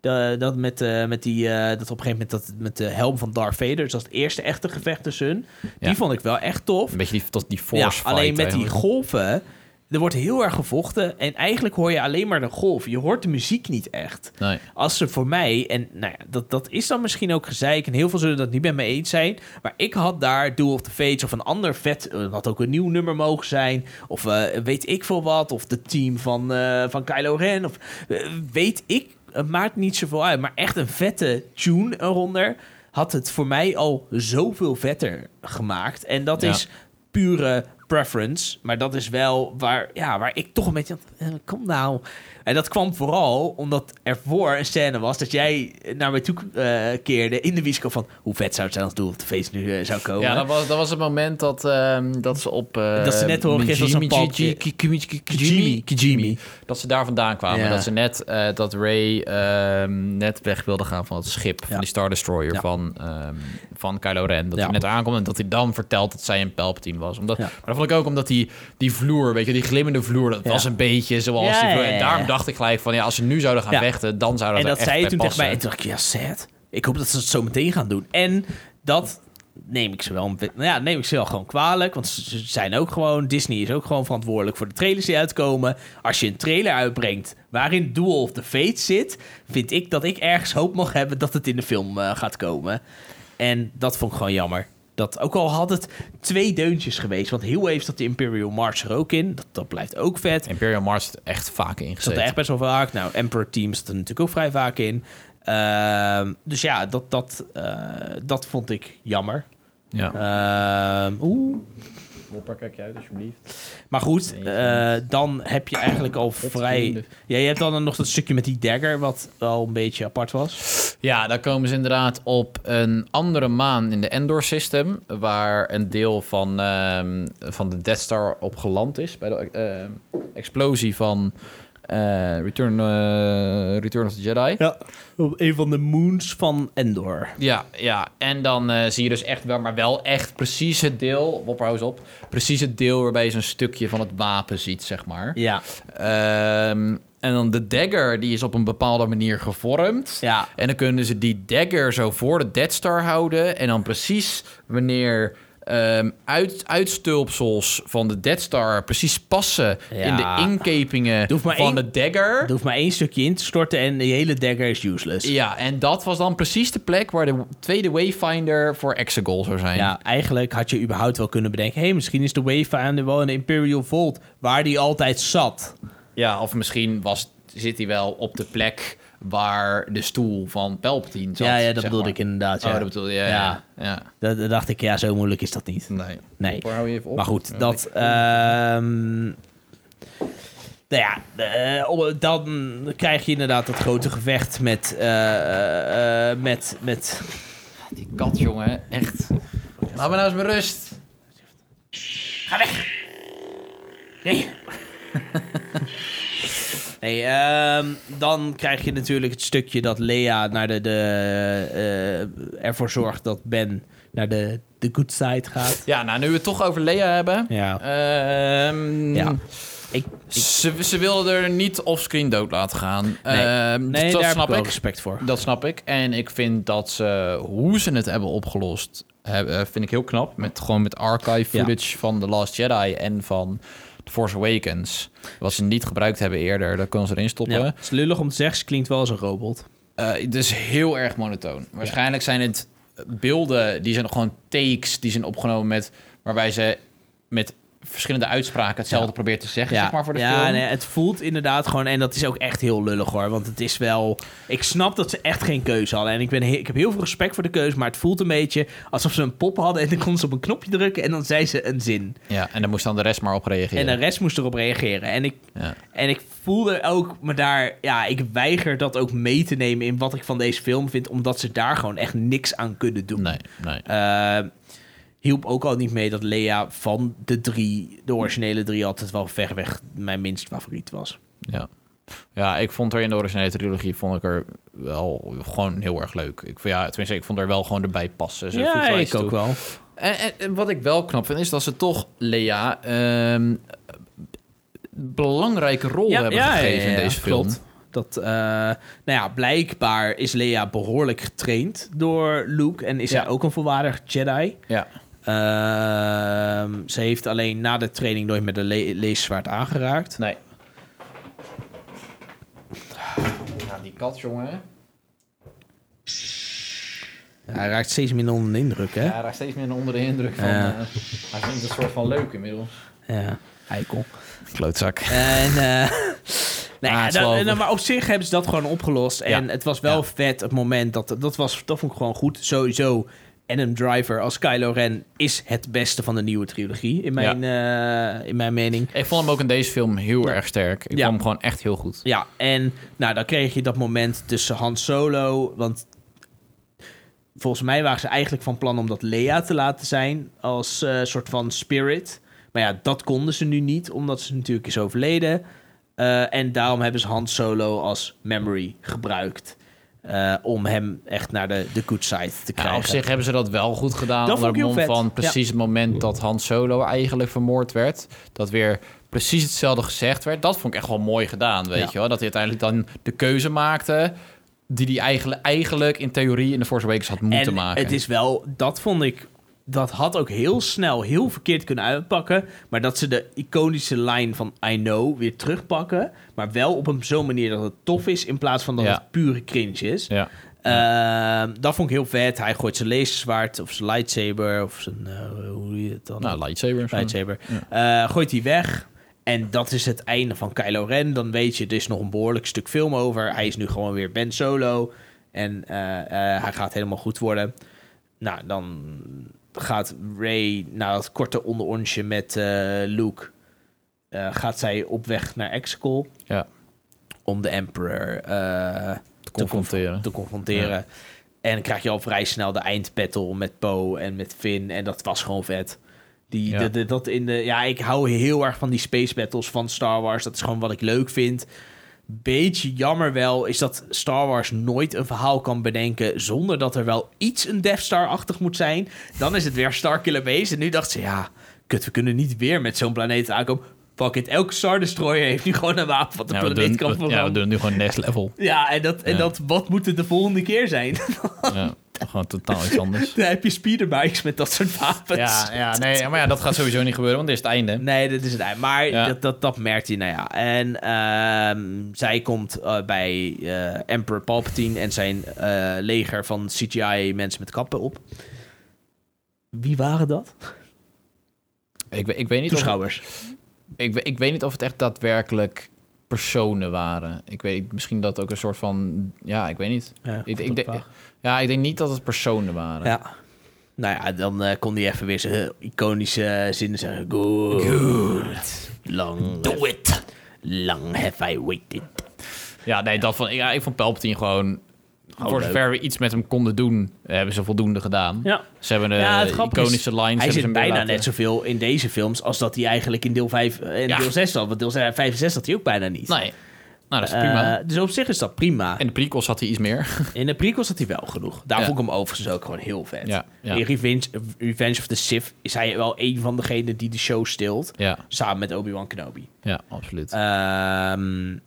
Speaker 1: De- dat met, eh, met die, eh, dat op een gegeven moment dat, met de helm van Darth Vader, dus dat is het eerste echte gevecht tussen hun. Die
Speaker 2: Ja.
Speaker 1: vond ik wel echt tof
Speaker 2: Een beetje die, tot die force fight
Speaker 1: alleen met die
Speaker 2: eigenlijk.
Speaker 1: golven. Er wordt heel erg gevochten. En eigenlijk hoor je alleen maar de golf. Je hoort de muziek niet echt.
Speaker 2: Nee.
Speaker 1: Als ze voor mij, en nou ja, dat, dat is dan misschien ook gezeik. En heel veel zullen dat niet met me eens zijn. Maar ik had daar Duel of the Fates of een ander vet. eh, Wat ook een nieuw nummer mogen zijn. Of eh, weet ik veel wat. Of de team van, eh, van Kylo Ren. Of eh, weet ik. Het maakt niet zoveel uit. Maar echt een vette tune eronder. Had het voor mij al zoveel vetter gemaakt. En dat
Speaker 2: Ja.
Speaker 1: is pure preference. Maar dat is wel waar, ja, waar ik toch een beetje... eh, Kom nou. En dat kwam vooral omdat er voor een scène was... dat jij naar mij toe eh, keerde in de Wisco van... hoe vet zou het zijn als Doel op de feest nu eh, zou komen.
Speaker 2: Ja, dat was, dat was het moment dat, ehm, dat ze op... eh,
Speaker 1: Dat ze net horen, geeft ons een
Speaker 2: Mijimi-
Speaker 1: palpje.
Speaker 2: Ji- Ki- Kimi- Ki- Kijimi- Kijimi. Dat ze daar vandaan kwamen.
Speaker 1: Ja.
Speaker 2: Dat ze net, eh, dat Ray ehm, net weg wilde gaan van het schip. Van
Speaker 1: Ja.
Speaker 2: die Star Destroyer
Speaker 1: Ja.
Speaker 2: van, ehm, van Kylo Ren. Dat
Speaker 1: Ja.
Speaker 2: hij net aankomt en dat hij dan vertelt dat zij een Palpatine was. Omdat,
Speaker 1: Ja.
Speaker 2: Maar dat vond ik ook omdat die, die vloer, weet je, die glimmende vloer... dat
Speaker 1: Ja.
Speaker 2: was een beetje zoals
Speaker 1: Ja,
Speaker 2: die vloer.
Speaker 1: ja, ja,
Speaker 2: En daarom
Speaker 1: ja.
Speaker 2: dacht ik gelijk van... ja, als ze nu zouden gaan
Speaker 1: Ja.
Speaker 2: vechten, dan zou dat
Speaker 1: en
Speaker 2: er
Speaker 1: dat
Speaker 2: echt
Speaker 1: zei je
Speaker 2: bij
Speaker 1: toen tegen mij. En
Speaker 2: passen.
Speaker 1: toen dacht ik, ja, sad. Ik hoop dat ze het zo meteen gaan doen. En dat neem ik ze wel, een be- nou ja, neem ik ze wel gewoon kwalijk. Want ze ze zijn ook gewoon... Disney is ook gewoon verantwoordelijk voor de trailers die uitkomen. Als je een trailer uitbrengt waarin Duel of the Fates zit... vind ik dat ik ergens hoop mag hebben dat het in de film eh, gaat komen. En dat vond ik gewoon jammer. Dat, ook al had het twee deuntjes geweest. Want heel even zat de Imperial March er ook in. Dat, dat blijft ook vet.
Speaker 2: Imperial Mars zit echt vaak
Speaker 1: Zat
Speaker 2: ingezet.
Speaker 1: er echt best wel vaak. Nou, Emperor Team zat er natuurlijk ook vrij vaak in. Ehm, dus ja, dat, dat, eh, dat vond ik jammer.
Speaker 2: Ja.
Speaker 1: Ehm, Oeh.
Speaker 3: Mopper, kijk je uit alsjeblieft.
Speaker 1: Maar goed,
Speaker 3: Nee,
Speaker 1: eh, dan heb je eigenlijk al vrij...
Speaker 3: vrienden.
Speaker 1: Ja, je hebt dan nog dat stukje met die dagger... wat al een beetje apart was.
Speaker 2: Ja, daar komen ze inderdaad op een andere maan in de Endor System, waar een deel van, ehm, van de Death Star op geland is bij de ehm, explosie van eh, Return, eh, Return of the Jedi.
Speaker 1: Ja, op een van de moons van Endor.
Speaker 2: Ja, ja. En dan eh, zie je dus echt wel, maar wel echt precies het deel, Wopper hou eens op, precies het deel waarbij je zo'n stukje van het wapen ziet, zeg maar.
Speaker 1: Ja,
Speaker 2: Ehm, en dan de dagger, die is op een bepaalde manier gevormd.
Speaker 1: ja.
Speaker 2: En dan kunnen ze die dagger zo voor de Dead Star houden. En dan precies wanneer ehm, uit, uitstulpsels van de Dead Star precies passen in
Speaker 1: Ja.
Speaker 2: de inkepingen
Speaker 1: Doe maar
Speaker 2: van
Speaker 1: één-
Speaker 2: de dagger.
Speaker 1: Er hoeft maar één stukje in te storten en de hele dagger is useless. Ja,
Speaker 2: Ja, en dat was dan precies de plek waar de tweede Wayfinder voor Exegol zou zijn.
Speaker 1: eigenlijk had je überhaupt wel kunnen bedenken... hé, hey, misschien is de Wayfinder wel in de Imperial Vault... waar die altijd zat.
Speaker 2: Ja, of misschien was, zit hij wel op de plek waar de stoel van Palpatine zat.
Speaker 1: ja, ja, dat
Speaker 2: zeg
Speaker 1: bedoelde
Speaker 2: maar.
Speaker 1: ik inderdaad. Ja.
Speaker 2: Oh, dat bedoelde ja,
Speaker 1: Ja.
Speaker 2: ja. ja.
Speaker 1: dat, dat dacht ik, ja, zo moeilijk is dat niet.
Speaker 2: Nee.
Speaker 1: Nee.
Speaker 3: Waar hou je even op?
Speaker 1: Maar goed, dat. ehm, nou ja, eh, om- dan krijg je inderdaad dat grote gevecht met. eh, eh, eh, met, met
Speaker 2: Die kat, jongen, echt. Laat me nou eens mijn rust.
Speaker 1: nee. nee, ehm, dan krijg je natuurlijk het stukje dat Lea naar de, de, eh, ervoor zorgt dat Ben naar de, de good side gaat.
Speaker 2: Ja, nou, nu we het toch over Lea hebben.
Speaker 1: Ja.
Speaker 2: Ehm,
Speaker 1: Ja. Ik,
Speaker 2: Ze, ze wilde er niet offscreen dood laten gaan.
Speaker 1: nee,
Speaker 2: Ehm,
Speaker 1: nee,
Speaker 2: dat
Speaker 1: daar heb ik
Speaker 2: snap
Speaker 1: wel
Speaker 2: ik.
Speaker 1: respect voor.
Speaker 2: Dat snap ik. En ik vind dat ze, hoe ze het hebben opgelost, hebben, vind ik heel knap. Met, gewoon met archive
Speaker 1: Ja.
Speaker 2: footage van The Last Jedi en van The Force Awakens. Wat ze niet gebruikt hebben eerder, dat kunnen ze erin stoppen.
Speaker 1: Ja, het is lullig om te zeggen, ze klinkt wel als een robot.
Speaker 2: Eh, het is heel erg monotoon. Waarschijnlijk zijn het beelden, die zijn gewoon takes, die zijn opgenomen met... waarbij ze met verschillende uitspraken hetzelfde probeert te zeggen, zeg maar, voor de
Speaker 1: ja,
Speaker 2: film.
Speaker 1: nee, het voelt inderdaad gewoon... En dat is ook echt heel lullig hoor. Want het is wel... Ik snap dat ze echt geen keuze hadden. En ik, ben he- ik heb heel veel respect voor de keuze. Maar het voelt een beetje alsof ze een pop hadden... en dan kon ze op een knopje drukken en dan zei ze een zin.
Speaker 2: Ja, en dan moest dan de rest maar op reageren.
Speaker 1: En de rest moest erop reageren. En ik,
Speaker 2: Ja.
Speaker 1: en ik voelde ook me daar... Ja, ik weiger dat ook mee te nemen in wat ik van deze film vind... omdat ze daar gewoon echt niks aan kunnen doen.
Speaker 2: Nee, nee.
Speaker 1: Eh, hielp ook al niet mee dat Lea van de drie... de originele drie altijd wel ver weg mijn minst favoriet was.
Speaker 2: Ja. ja, ik vond haar in de originele trilogie vond ik er wel gewoon heel erg leuk. Ik, vond- ja, tenminste, ik vond haar wel gewoon erbij passen. Ze voegt Dus wel iets toe.
Speaker 1: wel.
Speaker 2: En, en- en wat ik wel knap vind, is dat ze toch Lea ehm, belangrijke rol hebben gegeven in deze film.
Speaker 1: Klopt. Dat, eh, nou ja, blijkbaar is Lea behoorlijk getraind door Luke en is
Speaker 2: Ja.
Speaker 1: zij ook een volwaardig Jedi.
Speaker 2: Ja.
Speaker 1: Ehm, ze heeft alleen na de training nooit met een le leeszwaard aangeraakt.
Speaker 2: Nee. Nou, die kat, jongen.
Speaker 1: Hij raakt steeds minder onder de indruk, hè?
Speaker 2: Ja,
Speaker 1: Ja.
Speaker 2: hij raakt steeds meer onder de indruk van...
Speaker 1: Ja.
Speaker 2: eh, hij vindt het een soort van leuk inmiddels.
Speaker 1: Eikel.
Speaker 2: Klootzak.
Speaker 1: En, eh, nou ja,
Speaker 2: Aanslopen.
Speaker 1: dan- en dan- maar op zich hebben ze dat gewoon opgelost. En
Speaker 2: Ja.
Speaker 1: het was wel
Speaker 2: Ja.
Speaker 1: vet het moment. Dat, dat, was, dat vond ik gewoon goed. Sowieso Adam Driver als Kylo Ren is het beste van de nieuwe trilogie. In mijn, eh, in mijn mening.
Speaker 2: Ik vond hem ook in deze film heel erg sterk. Ik
Speaker 1: Ja.
Speaker 2: vond hem gewoon echt heel goed.
Speaker 1: Ja, en nou, dan kreeg je dat moment tussen Han Solo. Want volgens mij waren ze eigenlijk van plan om dat Lea te laten zijn. Als eh, soort van spirit. Maar ja, dat konden ze nu niet, omdat ze natuurlijk is overleden. Eh, en daarom hebben ze Han Solo als memory gebruikt. eh, om hem echt naar de, de good side te
Speaker 2: Ja,
Speaker 1: krijgen.
Speaker 2: op zich hebben ze dat wel goed gedaan.
Speaker 1: Dat
Speaker 2: onder
Speaker 1: vond ik heel
Speaker 2: mom
Speaker 1: vet.
Speaker 2: van precies het moment dat Han Solo eigenlijk vermoord werd. Dat weer precies hetzelfde gezegd werd. Dat vond ik echt wel mooi gedaan, weet
Speaker 1: Ja.
Speaker 2: je wel. Dat hij uiteindelijk dan de keuze maakte... die hij eigenlijk, eigenlijk in theorie in de Force Awakens had moeten
Speaker 1: en
Speaker 2: maken.
Speaker 1: Het is wel, dat vond ik, dat had ook heel snel heel verkeerd kunnen uitpakken. Maar dat ze de iconische lijn van I know weer terugpakken. Maar wel op een zo'n manier dat het tof is in plaats van dat
Speaker 2: Ja.
Speaker 1: het pure cringe is.
Speaker 2: Ja.
Speaker 1: Ehm, dat vond ik heel vet. Hij gooit zijn laserzwaard of zijn lightsaber of zijn, eh, hoe heet het dan?
Speaker 2: Nou, lightsaber. of zo.
Speaker 1: lightsaber. Eh, gooit hij weg. En dat is het einde van Kylo Ren. Dan weet je, er is nog een behoorlijk stuk film over. Hij is nu gewoon weer Ben Solo. En eh, eh, hij gaat helemaal goed worden. Nou, dan gaat Ray na dat korte onderonsje met eh, Luke... eh, gaat zij op weg naar Exegol
Speaker 2: Ja,
Speaker 1: om de Emperor eh,
Speaker 2: te confronteren.
Speaker 1: te confronteren. En dan krijg je al vrij snel de eindbattle met Poe en met Finn. En dat was gewoon vet. Die,
Speaker 2: Ja.
Speaker 1: de- de- dat in de, ja, ik hou heel erg van die space battles van Star Wars. Dat is gewoon wat ik leuk vind. Beetje jammer wel is dat Star Wars nooit een verhaal kan bedenken... zonder dat er wel iets een Death Star-achtig moet zijn. Dan is het weer Starkiller Base. En nu dacht ze, ja, kut, we kunnen niet weer met zo'n planeet aankomen. Fuck it, elke Star Destroyer heeft nu gewoon een wapen... wat de
Speaker 2: Ja, we
Speaker 1: planeet
Speaker 2: doen,
Speaker 1: kan
Speaker 2: we- ja, we
Speaker 1: veranderen.
Speaker 2: doen nu gewoon next level.
Speaker 1: Ja, en, dat, en
Speaker 2: Ja.
Speaker 1: dat, wat moet het de volgende keer zijn?
Speaker 2: ja, gewoon totaal iets anders.
Speaker 1: Dan heb je speederbikes met dat soort wapens.
Speaker 2: Ja, ja, nee, maar ja, dat gaat sowieso niet gebeuren, want dit is het einde.
Speaker 1: Nee, dat is het eind. Maar
Speaker 2: Ja.
Speaker 1: dat, dat, dat merkt hij, nou ja. En ehm, zij komt eh, bij eh, Emperor Palpatine en zijn eh, leger van CGI-mensen met kappen op. Wie waren dat?
Speaker 2: Ik, we- ik, weet niet of,
Speaker 1: Toeschouwers.
Speaker 2: ik, we- ik weet niet of het echt daadwerkelijk personen waren. Ik weet misschien dat ook een soort van... Ja, ik weet niet.
Speaker 1: Ja,
Speaker 2: Ik, ik, denk- ja, ik denk niet dat het personen waren.
Speaker 1: ja. Nou ja, dan eh, kon hij even weer zijn eh, iconische eh, zinnen zeggen. Good. Long,
Speaker 2: Do it!
Speaker 1: long have I waited.
Speaker 2: Ja, nee, dat vond, ik- ja, ik vond Palpatine gewoon...
Speaker 1: Gewoon
Speaker 2: voor
Speaker 1: Oh, leuk.
Speaker 2: zover we iets met hem konden doen, hebben ze voldoende gedaan.
Speaker 1: Ja.
Speaker 2: Ze hebben de
Speaker 1: Ja, het grappige is,
Speaker 2: Eh, iconische lines...
Speaker 1: Hij
Speaker 2: hebben ze
Speaker 1: zit
Speaker 2: hem
Speaker 1: bijna
Speaker 2: laten-
Speaker 1: net zoveel in deze films als dat hij eigenlijk in deel 5 en
Speaker 2: Ja.
Speaker 1: deel 6 had. Want deel 5 en 6 had hij ook bijna niet.
Speaker 2: Nee, nou, dat is prima.
Speaker 1: Eh, dus op zich is dat prima.
Speaker 2: En de prequels had hij iets meer.
Speaker 1: In de prequels had hij wel genoeg. Daar
Speaker 2: Ja.
Speaker 1: vond ik hem overigens ook gewoon heel vet.
Speaker 2: Ja, ja.
Speaker 1: In Revenge, Revenge of the Sith is hij wel een van degenen die de show stilt.
Speaker 2: ja,
Speaker 1: Samen met Obi-Wan Kenobi.
Speaker 2: ja, absoluut.
Speaker 1: Eh, Ehm,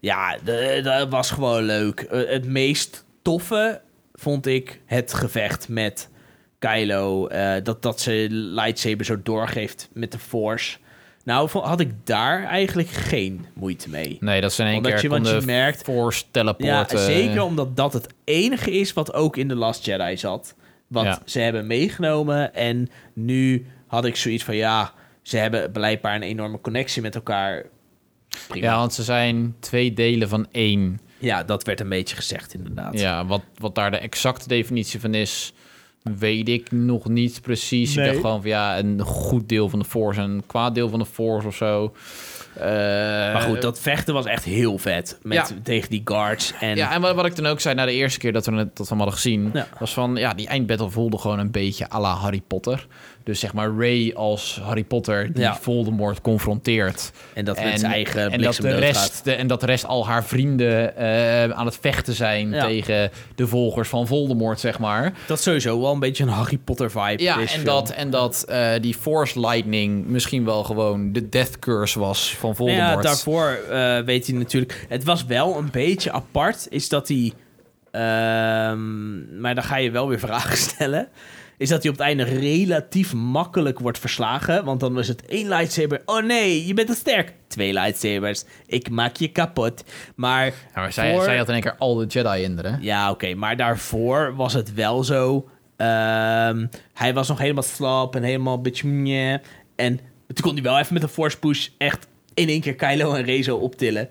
Speaker 1: ja, de- dat was gewoon leuk. Eh, het meest toffe vond ik het gevecht met Kylo. eh, dat, dat ze lightsaber zo doorgeeft met de Force. Nou, vo- had ik daar eigenlijk geen moeite mee.
Speaker 2: nee, dat ze in één
Speaker 1: omdat
Speaker 2: keer
Speaker 1: je- want je
Speaker 2: konden
Speaker 1: merkt-
Speaker 2: force
Speaker 1: Ja,
Speaker 2: teleporten.
Speaker 1: zeker omdat dat het enige is wat ook in The Last Jedi zat. Wat
Speaker 2: Ja.
Speaker 1: ze hebben meegenomen. En nu had ik zoiets van, ja, ze hebben blijkbaar een enorme connectie met elkaar. Prima.
Speaker 2: Ja, want ze zijn twee delen van één.
Speaker 1: Ja, dat werd een beetje gezegd inderdaad.
Speaker 2: Ja, wat, wat daar de exacte definitie van is, weet ik nog niet precies.
Speaker 1: Nee.
Speaker 2: Ik dacht gewoon van ja, een goed deel van de force en een kwaad deel van de force of zo. Eh,
Speaker 1: Maar goed, dat vechten was echt heel vet. Met,
Speaker 2: Ja.
Speaker 1: Tegen die guards. En,
Speaker 2: Ja, en wat, wat ik dan ook zei na de eerste keer dat we het dat we hem hadden gezien,
Speaker 1: Ja.
Speaker 2: was van ja, die eindbattle voelde gewoon een beetje à la Harry Potter. Dus zeg maar Ray als Harry Potter die
Speaker 1: Ja.
Speaker 2: Voldemort confronteert.
Speaker 1: en dat met zijn eigen
Speaker 2: en dat
Speaker 1: bliksem
Speaker 2: de
Speaker 1: doodgaat.
Speaker 2: rest, de, En dat de rest al haar vrienden eh, aan het vechten zijn
Speaker 1: Ja.
Speaker 2: tegen de volgers van Voldemort, zeg maar. Dus
Speaker 1: Dat is sowieso wel een beetje een Harry Potter vibe.
Speaker 2: Ja,
Speaker 1: deze
Speaker 2: en
Speaker 1: film.
Speaker 2: dat, en dat eh, die Force Lightning misschien wel gewoon de Death Curse was van
Speaker 1: Nou
Speaker 2: Voldemort.
Speaker 1: Ja, daarvoor eh, weet hij natuurlijk... Het was wel een beetje apart, is dat hij... ehm, maar dan ga je wel weer vragen stellen. Is dat hij op het einde relatief makkelijk wordt verslagen. Want dan was het één lightsaber. Oh nee, je bent te sterk. Twee lightsabers. Ik maak je kapot. Maar,
Speaker 2: Ja, maar zij,
Speaker 1: voor-
Speaker 2: zij had in één keer al de Jedi in haar, hè?
Speaker 1: ja, oké. Maar daarvoor was het wel zo. ehm, hij was nog helemaal slap en helemaal een beetje meh. En toen kon hij wel even met een force push echt in één keer Kylo en Rezo optillen.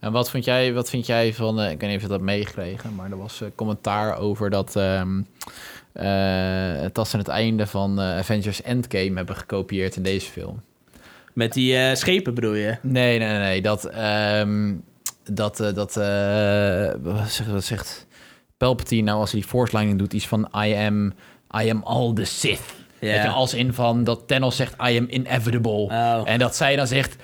Speaker 2: En wat vind jij, wat vind jij van... eh, ik weet niet of je dat meegekregen, maar er was eh, commentaar over dat... ehm eh het als ze het einde van eh, Avengers Endgame hebben gekopieerd in deze film.
Speaker 1: Met die eh, schepen bedoel je?
Speaker 2: Nee, nee, nee, nee. Dat, ehm, dat, eh, dat, eh, wat zegt, wat zegt Palpatine nou als hij die force lightning doet? Iets van I am, I am all the Sith.
Speaker 1: Ja.
Speaker 2: Weet je, als in van dat Thanos zegt I am inevitable.
Speaker 1: Oh.
Speaker 2: En dat zij dan zegt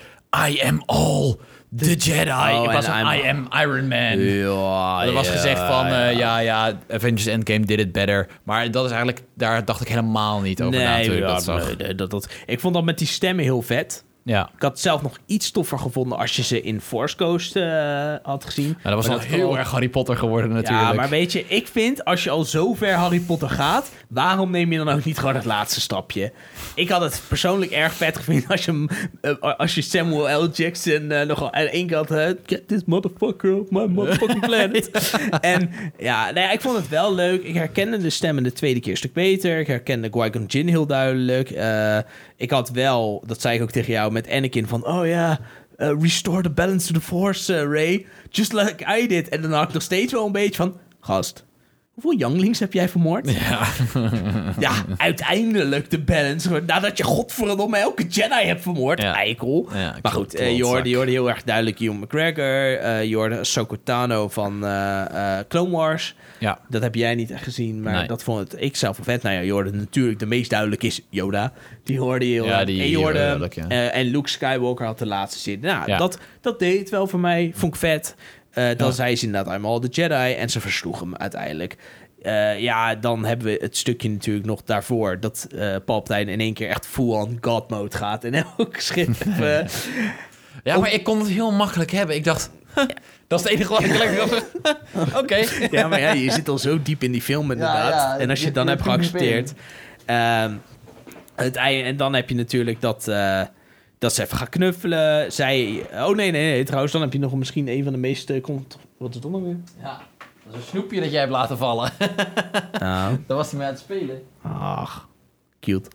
Speaker 2: I am all the Jedi.
Speaker 1: Oh,
Speaker 2: In plaats
Speaker 1: en
Speaker 2: van
Speaker 1: I'm-
Speaker 2: I am Iron Man.
Speaker 1: Ja,
Speaker 2: Er was gezegd van, eh, ja, ja, Avengers Endgame did it better. Maar dat is eigenlijk, daar dacht ik helemaal niet over na
Speaker 1: Nee,
Speaker 2: toen ik
Speaker 1: ja,
Speaker 2: dat zag.
Speaker 1: nee, nee, dat, dat, ik vond dat met die stemmen heel vet.
Speaker 2: Ja.
Speaker 1: Ik had het zelf nog iets toffer gevonden als je ze in Force Coast eh, had gezien.
Speaker 2: Maar dat was
Speaker 1: Maar
Speaker 2: al
Speaker 1: dat
Speaker 2: heel
Speaker 1: wel-
Speaker 2: erg Harry Potter geworden natuurlijk.
Speaker 1: Ja, maar weet je, ik vind als je al zo ver Harry Potter gaat, waarom neem je dan ook niet gewoon het laatste stapje? Ik had het persoonlijk erg vet gevonden als je, hem, eh, als je Samuel L. Jackson eh nogal aan één kant eh, get this motherfucker off my motherfucking planet. en ja, nou ja, ik vond het wel leuk. Ik herkende de stemmen de tweede keer een stuk beter. Ik herkende Qui-Gon Jinn heel duidelijk. Eh, ik had wel, dat zei ik ook tegen jou met Anakin, van oh ja, eh, restore the balance to the force, eh, Ray. Just like I did. En dan had ik nog steeds wel een beetje van, gast, hoeveel younglings heb jij vermoord?
Speaker 2: Ja.
Speaker 1: ja, uiteindelijk de balance. Nadat je godverdomme elke Jedi hebt vermoord,
Speaker 2: Ja.
Speaker 1: eikel.
Speaker 2: Ja,
Speaker 1: maar goed, eh, je,
Speaker 2: klotzak.
Speaker 1: hoorde, je hoorde heel erg duidelijk Hugh McGregor. eh je hoorde Sokotano van eh, eh, Clone Wars.
Speaker 2: Ja.
Speaker 1: Dat heb jij niet echt gezien, maar
Speaker 2: Nee.
Speaker 1: dat vond het, ik zelf wel vet. Nou ja, je hoorde natuurlijk de meest duidelijk is Yoda. Die hoorde je heel
Speaker 2: Ja,
Speaker 1: erg.
Speaker 2: die-
Speaker 1: en,
Speaker 2: die
Speaker 1: je hoorde,
Speaker 2: hoorde duidelijk, ja.
Speaker 1: eh, en Luke Skywalker had de laatste zin. Nou,
Speaker 2: Ja.
Speaker 1: dat, dat deed het wel voor mij. Vond ik vet. Eh, dan
Speaker 2: Ja.
Speaker 1: zei ze inderdaad, I'm all the Jedi. En ze versloeg hem uiteindelijk. Eh, ja, dan hebben we het stukje natuurlijk nog daarvoor... dat eh Palpatine in één keer echt full-on god mode gaat... en elk schip... eh,
Speaker 2: Ja, maar ik kon het heel makkelijk hebben. Ik dacht, huh, dat is het enige wat ik lekker... Oké.
Speaker 1: Ja, maar ja, je zit al zo diep in die film inderdaad.
Speaker 3: ja,
Speaker 1: en als je
Speaker 3: je-
Speaker 1: het dan
Speaker 3: je
Speaker 1: hebt
Speaker 3: komt niet
Speaker 1: geaccepteerd... ehm, het ei, en dan heb je natuurlijk dat, eh, dat ze even gaan knuffelen. Zij... Oh nee, nee, nee. Trouwens, dan heb je nog misschien een van de meest... eh, cont- wat is het dan nou weer?
Speaker 2: Ja, dat is een snoepje dat jij hebt laten vallen.
Speaker 1: Nou,
Speaker 2: Daar was hij mee aan het spelen.
Speaker 1: Ach, cute.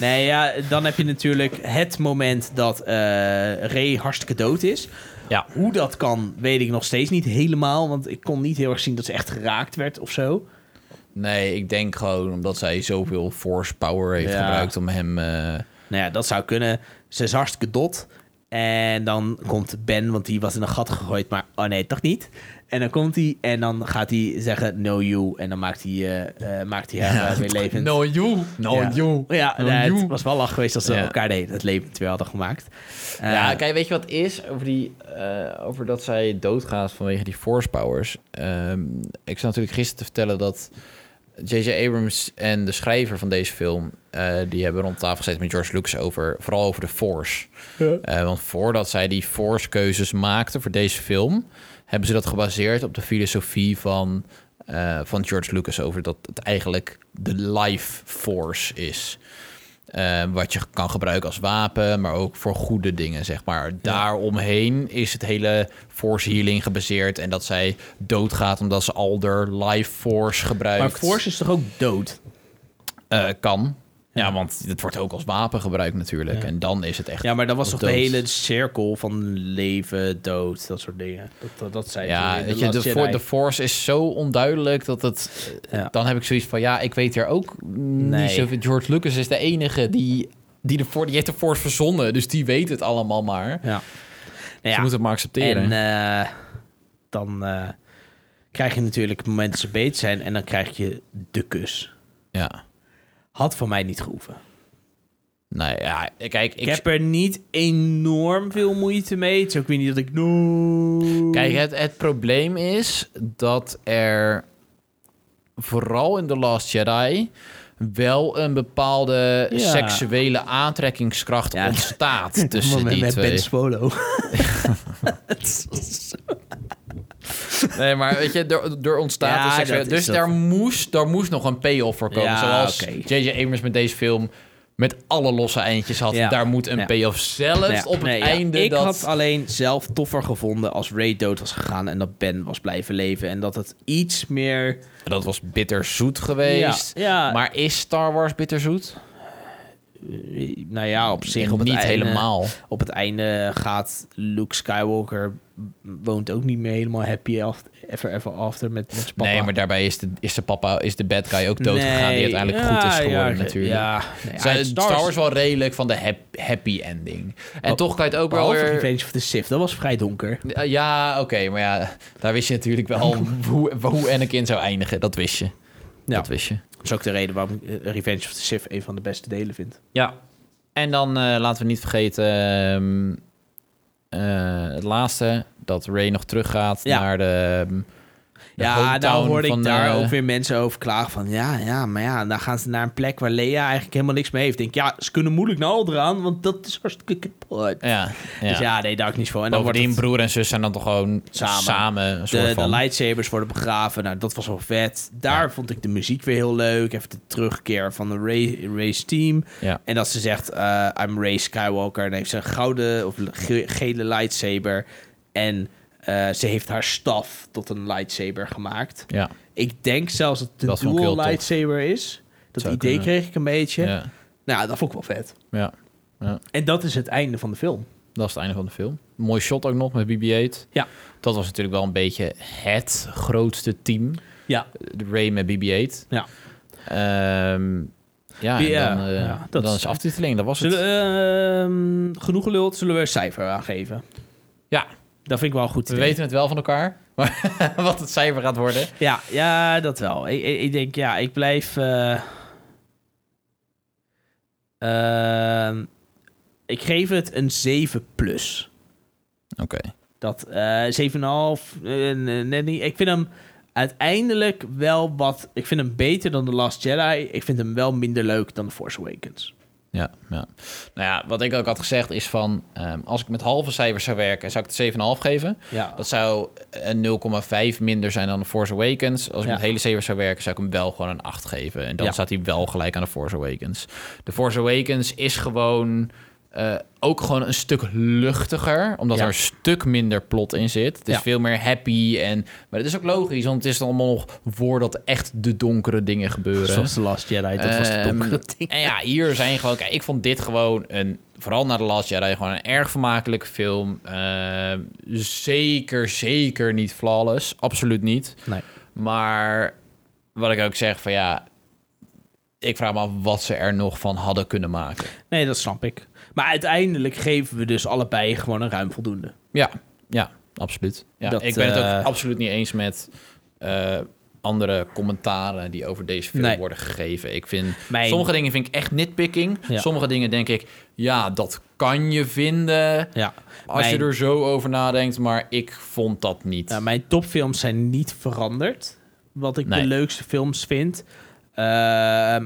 Speaker 1: Nee, ja, dan heb je natuurlijk het moment dat eh Ray hartstikke dood is.
Speaker 2: Ja.
Speaker 1: Hoe dat kan, weet ik nog steeds niet helemaal. Want ik kon niet heel erg zien dat ze echt geraakt werd of zo.
Speaker 2: Nee, ik denk gewoon omdat zij zoveel force power heeft
Speaker 1: Ja.
Speaker 2: gebruikt om hem... eh,
Speaker 1: Nou ja, dat zou kunnen. Ze is hartstikke dot. En dan komt Ben, want die was in een gat gegooid. Maar, oh nee, toch niet. En dan komt hij en dan gaat hij zeggen, no you. En dan maakt hij, eh, eh, maakt hij haar eh, weer levend.
Speaker 2: No you. No
Speaker 1: ja.
Speaker 2: you.
Speaker 1: Ja,
Speaker 2: No
Speaker 1: nee,
Speaker 2: you.
Speaker 1: het was wel lach geweest als ze
Speaker 2: Ja.
Speaker 1: elkaar deden, het levend weer hadden gemaakt. Eh,
Speaker 2: Ja,
Speaker 1: ja,
Speaker 2: kijk, weet je wat het is? Over, die, eh, over dat zij doodgaat vanwege die force powers. Ehm, ik zat natuurlijk gisteren te vertellen dat J.J. Abrams en de schrijver van deze film... eh, die hebben rond tafel gezeten met George Lucas over... vooral over de force. Eh, want voordat zij die force keuzes maakten voor deze film... hebben ze dat gebaseerd op de filosofie van, eh, van George Lucas... over dat het eigenlijk de life force is... Eh, wat je kan gebruiken als wapen, maar ook voor goede dingen, zeg maar. Daaromheen is het hele force healing gebaseerd. En dat zij doodgaat omdat ze al haar life force gebruikt.
Speaker 1: maar Force is toch ook dood?
Speaker 2: Eh, kan. Ja, want het wordt ook als wapen gebruikt natuurlijk.
Speaker 1: Ja.
Speaker 2: En dan is het echt...
Speaker 1: Ja, maar dat was
Speaker 2: Of
Speaker 1: toch de
Speaker 2: dood.
Speaker 1: hele cirkel van leven, dood, dat soort dingen. Dat, dat, dat zei
Speaker 2: Ja,
Speaker 1: ze in
Speaker 2: weet je, de,
Speaker 1: Last
Speaker 2: for-
Speaker 1: Jedi.
Speaker 2: de force is zo onduidelijk dat het...
Speaker 1: Ja.
Speaker 2: Dan heb ik zoiets van, ja, ik weet er ook
Speaker 1: Nee.
Speaker 2: niet zoveel. George Lucas is de enige die, die, de, for- die heeft de force verzonnen. Dus die weet het allemaal maar.
Speaker 1: Ja. Nou
Speaker 2: Ze
Speaker 1: ja,
Speaker 2: moeten het maar accepteren.
Speaker 1: En eh, dan eh, krijg je natuurlijk het moment dat ze beet zijn en dan krijg je de kus.
Speaker 2: ja.
Speaker 1: Had van mij niet gehoeven.
Speaker 2: Nou ja, kijk, ik,
Speaker 1: Ik, heb er niet enorm veel moeite mee. Het is ook weer niet dat ik... No.
Speaker 2: kijk het, het probleem is dat er vooral in The Last Jedi wel een bepaalde
Speaker 1: Ja.
Speaker 2: seksuele aantrekkingskracht
Speaker 1: Ja.
Speaker 2: ontstaat tussen
Speaker 1: Moment
Speaker 2: die
Speaker 1: met
Speaker 2: twee.
Speaker 1: Ben Swallow.
Speaker 2: Nee, maar weet je, er, er ontstaat
Speaker 1: Ja,
Speaker 2: een seksuele-
Speaker 1: dat is
Speaker 2: Dus
Speaker 1: dat.
Speaker 2: daar moest, daar moest nog een payoff voor komen.
Speaker 1: Ja,
Speaker 2: Zoals
Speaker 1: oké.
Speaker 2: J.J. Abrams met deze film met alle losse eindjes had.
Speaker 1: Ja.
Speaker 2: Daar moet een
Speaker 1: Ja.
Speaker 2: payoff zelfs
Speaker 1: Nou ja,
Speaker 2: op het
Speaker 1: nee, ja.
Speaker 2: einde
Speaker 1: Ik
Speaker 2: dat...
Speaker 1: had alleen zelf toffer gevonden als Ray dood was gegaan en dat Ben was blijven leven. En dat het iets meer...
Speaker 2: Dat was bitterzoet geweest.
Speaker 1: Ja, ja.
Speaker 2: Maar is Star Wars bitterzoet?
Speaker 1: eh, Nou ja, op zich op het
Speaker 2: niet
Speaker 1: einde,
Speaker 2: helemaal.
Speaker 1: Op het einde gaat Luke Skywalker... woont ook niet meer helemaal happy af- ever ever after met, met zijn papa.
Speaker 2: Nee, maar daarbij is de, is de papa, is de bad guy ook dood gegaan. Die
Speaker 1: Nee,
Speaker 2: uiteindelijk
Speaker 1: ja,
Speaker 2: goed is geworden,
Speaker 1: ja,
Speaker 2: natuurlijk.
Speaker 1: Ja, nee,
Speaker 2: Zijn
Speaker 1: uit
Speaker 2: Star, Wars wel redelijk van de hap- happy ending. En
Speaker 1: Oh,
Speaker 2: toch kan je het ook wel
Speaker 1: Behalve
Speaker 2: weer...
Speaker 1: Revenge of the Sith, dat was vrij donker.
Speaker 2: Ja, oké, maar ja, daar wist je natuurlijk wel hoe, hoe Anakin zou eindigen. Dat wist je.
Speaker 1: Ja.
Speaker 2: Dat wist je.
Speaker 1: Dat is ook de reden waarom ik eh, Revenge of the Sith een van de beste delen vind.
Speaker 2: Ja. En dan eh, laten we niet vergeten ehm, eh, het laatste, dat Ray nog teruggaat
Speaker 1: Ja.
Speaker 2: naar de... ehm,
Speaker 1: Ja, nou
Speaker 2: hometown
Speaker 1: hoorde ik
Speaker 2: van,
Speaker 1: daar
Speaker 2: eh,
Speaker 1: ook weer mensen over klagen van... Ja, ja, maar ja, dan gaan ze naar een plek waar Lea eigenlijk helemaal niks mee heeft. Ik denk, ja, ze kunnen moeilijk naar Alderaan, want dat is hartstikke kapot.
Speaker 2: Ja, ja.
Speaker 1: Dus ja, nee, daar ook niet voor. En dan wordt
Speaker 2: Bovendien,
Speaker 1: het-
Speaker 2: broer en zus zijn dan toch gewoon
Speaker 1: Samen.
Speaker 2: samen, een soort
Speaker 1: de, de
Speaker 2: van.
Speaker 1: lightsabers worden begraven. Nou, dat was wel vet. Daar vond ik de muziek weer heel leuk. Even de terugkeer van de Ray- race team.
Speaker 2: Ja.
Speaker 1: En dat ze zegt, eh, I'm Ray Skywalker. En heeft ze een gouden of ge- gele lightsaber. En eh, ze heeft haar staf tot een lightsaber gemaakt.
Speaker 2: Ja.
Speaker 1: Ik denk zelfs dat het een
Speaker 2: Dat vond ik
Speaker 1: dual
Speaker 2: heel tof.
Speaker 1: lightsaber is. Dat
Speaker 2: Zou
Speaker 1: idee
Speaker 2: kunnen.
Speaker 1: kreeg ik een beetje.
Speaker 2: Ja.
Speaker 1: Nou, dat vond ik wel vet.
Speaker 2: ja,
Speaker 1: En dat is het einde van de film.
Speaker 2: dat is het einde van de film. Mooi shot ook nog met BB-8.
Speaker 1: Ja.
Speaker 2: Dat was natuurlijk wel een beetje het grootste team.
Speaker 1: Ja.
Speaker 2: De Ray met BB-8.
Speaker 1: Ja.
Speaker 2: Ehm, ja, en
Speaker 1: Ja,
Speaker 2: dan, eh,
Speaker 1: ja, dat
Speaker 2: dan
Speaker 1: is-
Speaker 2: is aftiteling. Dat was het.
Speaker 1: Zullen, we, ehm, genoeg geluld, zullen we een cijfer aangeven?
Speaker 2: Ja.
Speaker 1: Dat vind ik wel een goed.
Speaker 2: We
Speaker 1: idee.
Speaker 2: weten het wel van elkaar. maar wat het cijfer gaat worden.
Speaker 1: Ja, ja, dat wel. Ik, ik, ik denk, ja, ik blijf... eh, ehm, ik geef het een 7 plus.
Speaker 2: Oké.
Speaker 1: Dat eh 7,5, eh, n- net niet. Ik vind hem uiteindelijk wel wat... Ik vind hem beter dan The Last Jedi. Ik vind hem wel minder leuk dan The Force Awakens.
Speaker 2: Ja, ja. Nou ja, wat ik ook had gezegd is van... ehm, als ik met halve cijfers zou werken, zou ik het 7,5 geven.
Speaker 1: Ja,
Speaker 2: Dat zou eh, een 0,5 minder zijn dan de Force Awakens. Als ik
Speaker 1: Ja.
Speaker 2: met hele cijfers zou werken, zou ik hem wel gewoon een 8 geven. En dan
Speaker 1: Ja.
Speaker 2: staat hij wel gelijk aan de Force Awakens. De Force Awakens is gewoon eh, ook gewoon een stuk luchtiger. Omdat
Speaker 1: Ja.
Speaker 2: er een stuk minder plot in zit. Het is
Speaker 1: Ja.
Speaker 2: veel meer happy. En, maar dat is ook logisch, want het is dan allemaal nog voordat echt de donkere dingen gebeuren.
Speaker 1: zoals The Last Jedi. Dat was de
Speaker 2: Ehm,
Speaker 1: donkere ding.
Speaker 2: En ja, hier zijn gewoon... Kijk, ik vond dit gewoon een... Vooral na de Last Jedi gewoon een erg vermakelijke film. Ehm, zeker, zeker niet flawless. Absoluut niet.
Speaker 1: Nee.
Speaker 2: Maar wat ik ook zeg van ja... Ik vraag me af wat ze er nog van hadden kunnen maken.
Speaker 1: Nee, dat snap ik. Maar uiteindelijk geven we dus allebei gewoon een ruim voldoende.
Speaker 2: Ja, ja, absoluut. Ja,
Speaker 1: Dat,
Speaker 2: ik ben het ook
Speaker 1: eh,
Speaker 2: absoluut niet eens met... eh, andere commentaren die over deze film
Speaker 1: Nee.
Speaker 2: worden gegeven. Ik vind
Speaker 1: Mijn-
Speaker 2: sommige dingen vind ik echt nitpicking.
Speaker 1: Ja.
Speaker 2: Sommige dingen denk ik, ja, dat kan je vinden.
Speaker 1: Ja.
Speaker 2: Als
Speaker 1: Mijn-
Speaker 2: je er zo over nadenkt, maar ik vond dat niet.
Speaker 1: Nou, mijn topfilms zijn niet veranderd. Wat ik
Speaker 2: Nee.
Speaker 1: de leukste films vind. Ehm,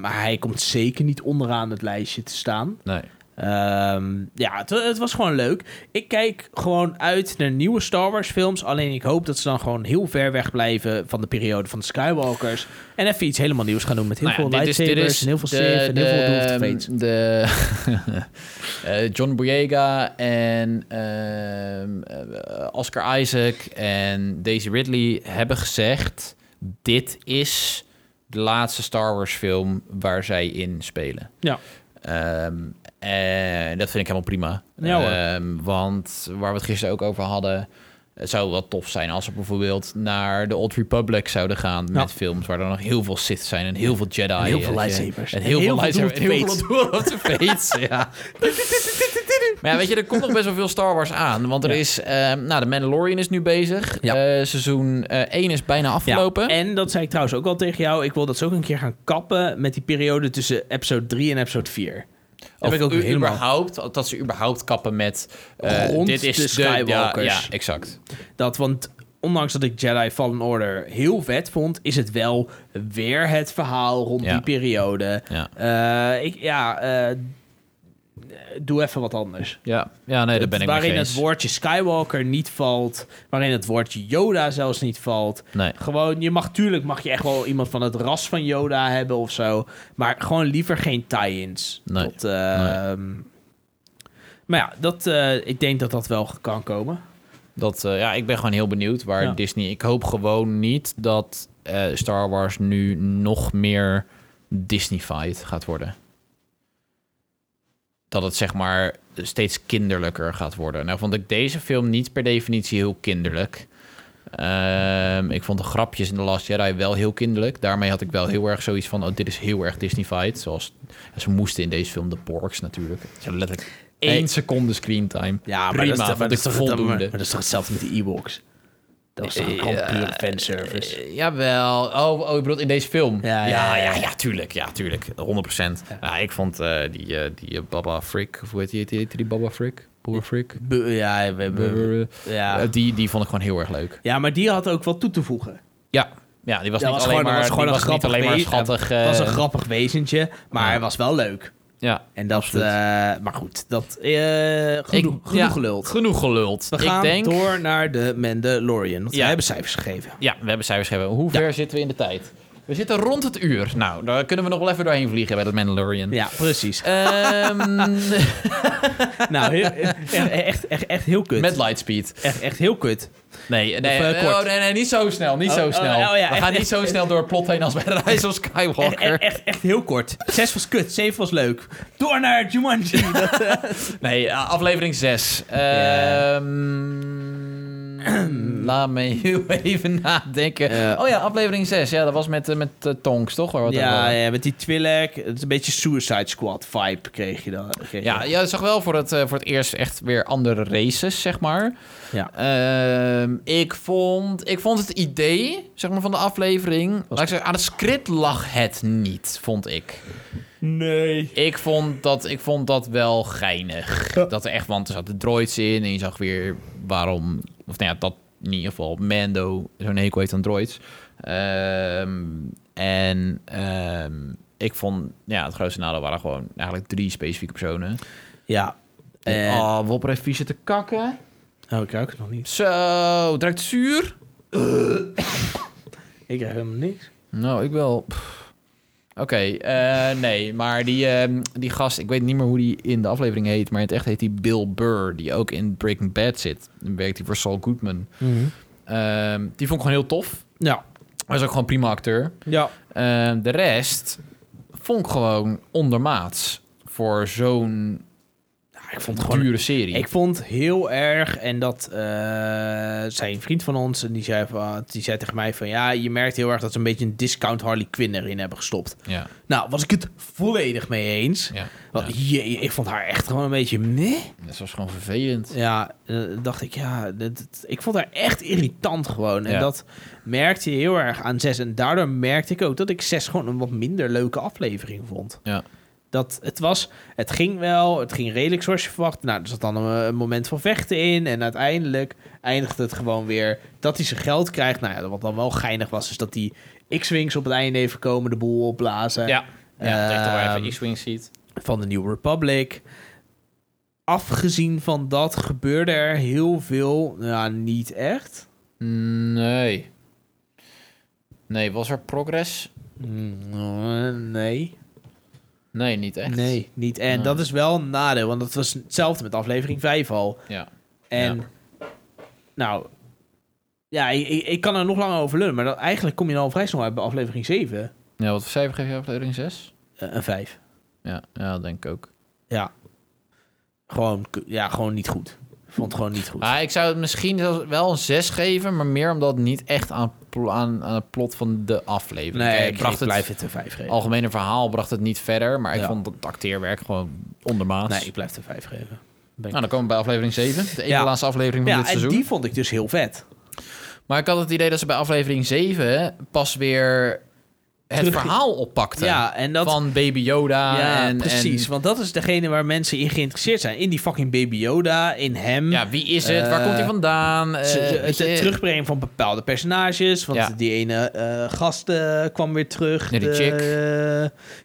Speaker 1: maar hij komt zeker niet onderaan het lijstje te staan.
Speaker 2: Nee.
Speaker 1: Ehm, ja, het, wa- het was gewoon leuk. Ik kijk gewoon uit naar nieuwe Star Wars films. Alleen ik hoop dat ze dan gewoon heel ver weg blijven van de periode van de Skywalkers. En even iets helemaal nieuws gaan doen met heel
Speaker 2: Nou ja,
Speaker 1: veel
Speaker 2: dit is- dit
Speaker 1: lightsabers
Speaker 2: is
Speaker 1: en heel veel
Speaker 2: de-
Speaker 1: Sith en heel veel Dwarf
Speaker 2: de- ehm,
Speaker 1: Fates.
Speaker 2: de- eh, John Boyega en ehm, eh, Oscar Isaac en Daisy Ridley hebben gezegd... dit is de laatste Star Wars film waar zij in spelen.
Speaker 1: Ja.
Speaker 2: Ehm, en dat vind ik helemaal prima.
Speaker 1: Ja, hoor.
Speaker 2: Ehm, want waar we het gisteren ook over hadden... Het zou wel tof zijn als ze bijvoorbeeld naar de Old Republic zouden gaan met films waar er nog heel veel Sith zijn en heel veel Jedi.
Speaker 1: En heel veel
Speaker 2: eh,
Speaker 1: lightsabers.
Speaker 2: En heel veel lightsabers. En heel veel Duel of the Fates, ja. Maar ja, weet je, er komt nog best wel veel Star Wars aan. Want er
Speaker 1: Ja.
Speaker 2: is... ehm, nou, de Mandalorian is nu bezig.
Speaker 1: Ja.
Speaker 2: Eh, seizoen 1 is bijna afgelopen.
Speaker 1: Ja, en dat zei ik trouwens ook al tegen jou. Ik wil dat ze ook een keer gaan kappen met die periode tussen episode 3 en episode 4. Daar ben
Speaker 2: Of
Speaker 1: ik ook
Speaker 2: u-
Speaker 1: helemaal...
Speaker 2: überhaupt, dat ze überhaupt kappen met... eh,
Speaker 1: Rond
Speaker 2: dit is
Speaker 1: de Skywalkers.
Speaker 2: Ja, ja, exact.
Speaker 1: Dat, want ondanks dat ik Jedi Fallen Order heel vet vond... is het wel weer het verhaal rond
Speaker 2: Ja.
Speaker 1: die periode.
Speaker 2: Ja.
Speaker 1: Eh, ik, ja, eh, doe even wat anders.
Speaker 2: Ja, ja nee, daar ben ik mee
Speaker 1: waarin
Speaker 2: eens.
Speaker 1: het woordje Skywalker niet valt. Waarin het woordje Yoda zelfs niet valt.
Speaker 2: Nee.
Speaker 1: Gewoon, je mag tuurlijk mag je echt wel iemand van het ras van Yoda hebben of zo. Maar gewoon liever geen tie-ins.
Speaker 2: Nee.
Speaker 1: Tot, ehm, Maar ja, dat, eh, ik denk dat dat wel kan komen.
Speaker 2: Dat, eh, ja, ik ben gewoon heel benieuwd waar
Speaker 1: Ja.
Speaker 2: Disney... Ik hoop gewoon niet dat eh, Star Wars nu nog meer Disneyfied gaat worden. Dat het zeg maar steeds kinderlijker gaat worden. Nou vond ik deze film niet per definitie heel kinderlijk. Ehm, ik vond de grapjes in The Last Jedi wel heel kinderlijk. Daarmee had ik wel heel erg zoiets van... Oh, dit is heel erg Disneyfied. Zoals ze moesten in deze film de porks natuurlijk. Ze hebben letterlijk één
Speaker 1: Nee.
Speaker 2: seconde screentime.
Speaker 1: Ja, maar
Speaker 2: Prima,
Speaker 1: dat is,
Speaker 2: vond ik voldoende.
Speaker 1: Maar, dat is toch hetzelfde met de Ewoks? Dat is toch gewoon pure fanservice?
Speaker 2: Eh, Jawel. Oh, oh, je bedoelt in deze film?
Speaker 1: Ja, ja,
Speaker 2: ja,
Speaker 1: ja.
Speaker 2: ja, ja, tuurlijk. Ja, tuurlijk. 100%. Ja. ik vond eh, die, eh, die eh, Baba Frick, of hoe heet die, heet die, heet die Baba Frick? Baba Frick?
Speaker 1: Bu- ja, we hebben...
Speaker 2: Eh,
Speaker 1: Ja.
Speaker 2: die, die vond ik gewoon heel erg leuk.
Speaker 1: ja, maar die had ook wat toe te voegen.
Speaker 2: Ja, ja die was
Speaker 1: Dat
Speaker 2: niet
Speaker 1: was gewoon-
Speaker 2: alleen
Speaker 1: dat
Speaker 2: maar,
Speaker 1: was gewoon
Speaker 2: die
Speaker 1: een
Speaker 2: was niet
Speaker 1: grappig
Speaker 2: alleen maar
Speaker 1: beest.
Speaker 2: schattig.
Speaker 1: Het was
Speaker 2: eh,
Speaker 1: een grappig wezentje, maar
Speaker 2: ja.
Speaker 1: hij was wel leuk.
Speaker 2: ja.
Speaker 1: En dat,
Speaker 2: Absoluut.
Speaker 1: eh, maar goed, dat eh genoeg,
Speaker 2: Ik-
Speaker 1: genoeg
Speaker 2: ja,
Speaker 1: geluld.
Speaker 2: Genoeg geluld.
Speaker 1: We gaan
Speaker 2: ik denk,
Speaker 1: door naar de Mandalorian. Want
Speaker 2: Ja.
Speaker 1: we hebben cijfers gegeven.
Speaker 2: Ja, we hebben cijfers gegeven. Hoe
Speaker 1: Ja.
Speaker 2: ver zitten we in de tijd? We zitten rond het uur. Nou, daar kunnen we nog wel even doorheen vliegen bij dat Mandalorian.
Speaker 1: Ja, precies.
Speaker 2: Ehm,
Speaker 1: nou, heel- echt, echt, echt, echt heel kut.
Speaker 2: met lightspeed.
Speaker 1: Echt, echt heel kut.
Speaker 2: Nee, nee,
Speaker 1: eh,
Speaker 2: oh,
Speaker 1: kort.
Speaker 2: nee, nee, niet zo snel. Niet
Speaker 1: Oh,
Speaker 2: zo
Speaker 1: oh,
Speaker 2: snel.
Speaker 1: oh, ja,
Speaker 2: we
Speaker 1: echt,
Speaker 2: gaan niet
Speaker 1: echt,
Speaker 2: zo
Speaker 1: echt.
Speaker 2: snel door het plot heen als bij de Rise of
Speaker 1: Echt,
Speaker 2: Skywalker.
Speaker 1: echt, echt, echt heel kort. Zes was kut, zeven was leuk. Door naar Jumanji. Dat, eh,
Speaker 2: Nee, a- aflevering 6.
Speaker 1: Ja.
Speaker 2: Laat me heel even nadenken.
Speaker 1: Ja.
Speaker 2: Oh ja, aflevering 6. Ja, dat was met, eh, met eh, Tonks, toch? Waar we het over
Speaker 1: ja,
Speaker 2: hadden.
Speaker 1: ja, met die Twi'lek. Het is een beetje Suicide Squad vibe kreeg je dan. kreeg
Speaker 2: Ja,
Speaker 1: je.
Speaker 2: ja, het zag wel voor het, eh, voor het eerst echt weer andere races, zeg maar.
Speaker 1: Ja.
Speaker 2: Ehm, ik, vond, ik vond het idee zeg maar, van de aflevering... Laat ik zeggen, aan het script lag het niet, vond ik.
Speaker 1: Nee.
Speaker 2: Ik vond dat, ik vond dat wel geinig. Dat er echt, want er zaten droids in en je zag weer waarom... Of nou ja, dat in ieder geval Mando zo'n hekel heeft aan droids. Ehm, en ehm, ik vond, ja, het grootste nadeel waren gewoon eigenlijk drie specifieke personen.
Speaker 1: Ja. En-
Speaker 2: Oh, Wopper heeft vies te kakken.
Speaker 1: Oh, ik ruik het nog niet.
Speaker 2: Zo, het ruikt zuur.
Speaker 1: Ik ruik helemaal niks.
Speaker 2: Nou, ik wel. Pff. Oké, eh, nee, maar die, ehm, die gast, ik weet niet meer hoe die in de aflevering heet, maar in het echt heet die Bill Burr, die ook in Breaking Bad zit. Dan werkt hij voor Saul Goodman.
Speaker 1: Mhm.
Speaker 2: Ehm, die vond ik gewoon heel tof.
Speaker 1: Ja.
Speaker 2: Hij is ook gewoon een prima acteur.
Speaker 1: Ja.
Speaker 2: Ehm, de rest vond ik gewoon ondermaats voor zo'n
Speaker 1: Ik vond het gewoon
Speaker 2: dure serie.
Speaker 1: Ik vond heel erg, en dat eh, zei een vriend van ons, en die zei, van, die zei tegen mij van, ja, je merkt heel erg dat ze een beetje een discount Harley Quinn erin hebben gestopt.
Speaker 2: Ja,
Speaker 1: Nou, was ik het volledig mee eens.
Speaker 2: ja.
Speaker 1: Want jee, ik vond haar echt gewoon een beetje meh.
Speaker 2: Dat was gewoon vervelend.
Speaker 1: Ja, eh, dacht ik, ja, dit- dit- ik vond haar echt irritant gewoon. En
Speaker 2: Ja.
Speaker 1: dat merkte je heel erg aan 6. En daardoor merkte ik ook dat ik 6 gewoon een wat minder leuke aflevering vond.
Speaker 2: Ja.
Speaker 1: Dat het was, het ging wel, het ging redelijk zoals je verwacht. Nou, er zat dan een, een moment van vechten in. En uiteindelijk eindigt het gewoon weer dat hij zijn geld krijgt. Nou ja, wat dan wel geinig was, is dat die X-Wings op het einde even komen, de boel opblazen.
Speaker 2: Ja. Ja, dat je toch wel even
Speaker 1: Ehm,
Speaker 2: X-Wing ziet.
Speaker 1: van de New Republic. Afgezien van dat gebeurde er heel veel, ja, niet echt.
Speaker 2: Nee. Nee, was er progress?
Speaker 1: Mm, Nee.
Speaker 2: Nee, niet echt.
Speaker 1: Nee, niet. En
Speaker 2: Nee.
Speaker 1: dat is wel een nadeel, want dat was hetzelfde met aflevering 5 al.
Speaker 2: Ja.
Speaker 1: En, nou, ja, ik, ik- ik kan er nog lang over lullen, maar dat, eigenlijk kom je dan al vrij snel uit bij aflevering 7.
Speaker 2: ja. Wat voor cijfer geef je aflevering 6?
Speaker 1: Eh, een 5.
Speaker 2: Ja, ja, dat denk ik ook.
Speaker 1: Ja. Gewoon, k- ja, gewoon niet goed. Ik Vond het gewoon niet goed.
Speaker 2: Maar Ah, ik zou het misschien zelfs wel een 6 geven, maar meer omdat het niet echt aan, pl- aan, aan het plot van de aflevering.
Speaker 1: nee,
Speaker 2: Kijk,
Speaker 1: ik,
Speaker 2: bracht
Speaker 1: ik
Speaker 2: het
Speaker 1: blijf het een 5 geven.
Speaker 2: algemene verhaal bracht het niet verder, maar ik
Speaker 1: Ja.
Speaker 2: vond het acteerwerk gewoon ondermaats.
Speaker 1: Nee, ik blijf het een 5 geven. Ben ik-
Speaker 2: Nou, dan komen we bij aflevering 7. De ene
Speaker 1: Ja.
Speaker 2: laatste aflevering van
Speaker 1: Ja,
Speaker 2: dit
Speaker 1: en
Speaker 2: seizoen.
Speaker 1: die vond ik dus heel vet.
Speaker 2: Maar ik had het idee dat ze bij aflevering 7 pas weer het
Speaker 1: Terug-
Speaker 2: verhaal oppakten.
Speaker 1: Ja, en dat...
Speaker 2: van Baby Yoda.
Speaker 1: ja,
Speaker 2: en,
Speaker 1: precies.
Speaker 2: en-
Speaker 1: Want dat is degene waar mensen in geïnteresseerd zijn. In die fucking Baby Yoda, in hem.
Speaker 2: ja, wie is het? Waar
Speaker 1: Eh,
Speaker 2: komt hij vandaan? Eh,
Speaker 1: Ze- ze-
Speaker 2: weet
Speaker 1: het
Speaker 2: je-
Speaker 1: het terugbrengen van bepaalde personages. Want
Speaker 2: Ja.
Speaker 1: die ene eh, gast eh, kwam weer terug.
Speaker 2: Ja, die
Speaker 1: De-
Speaker 2: chick.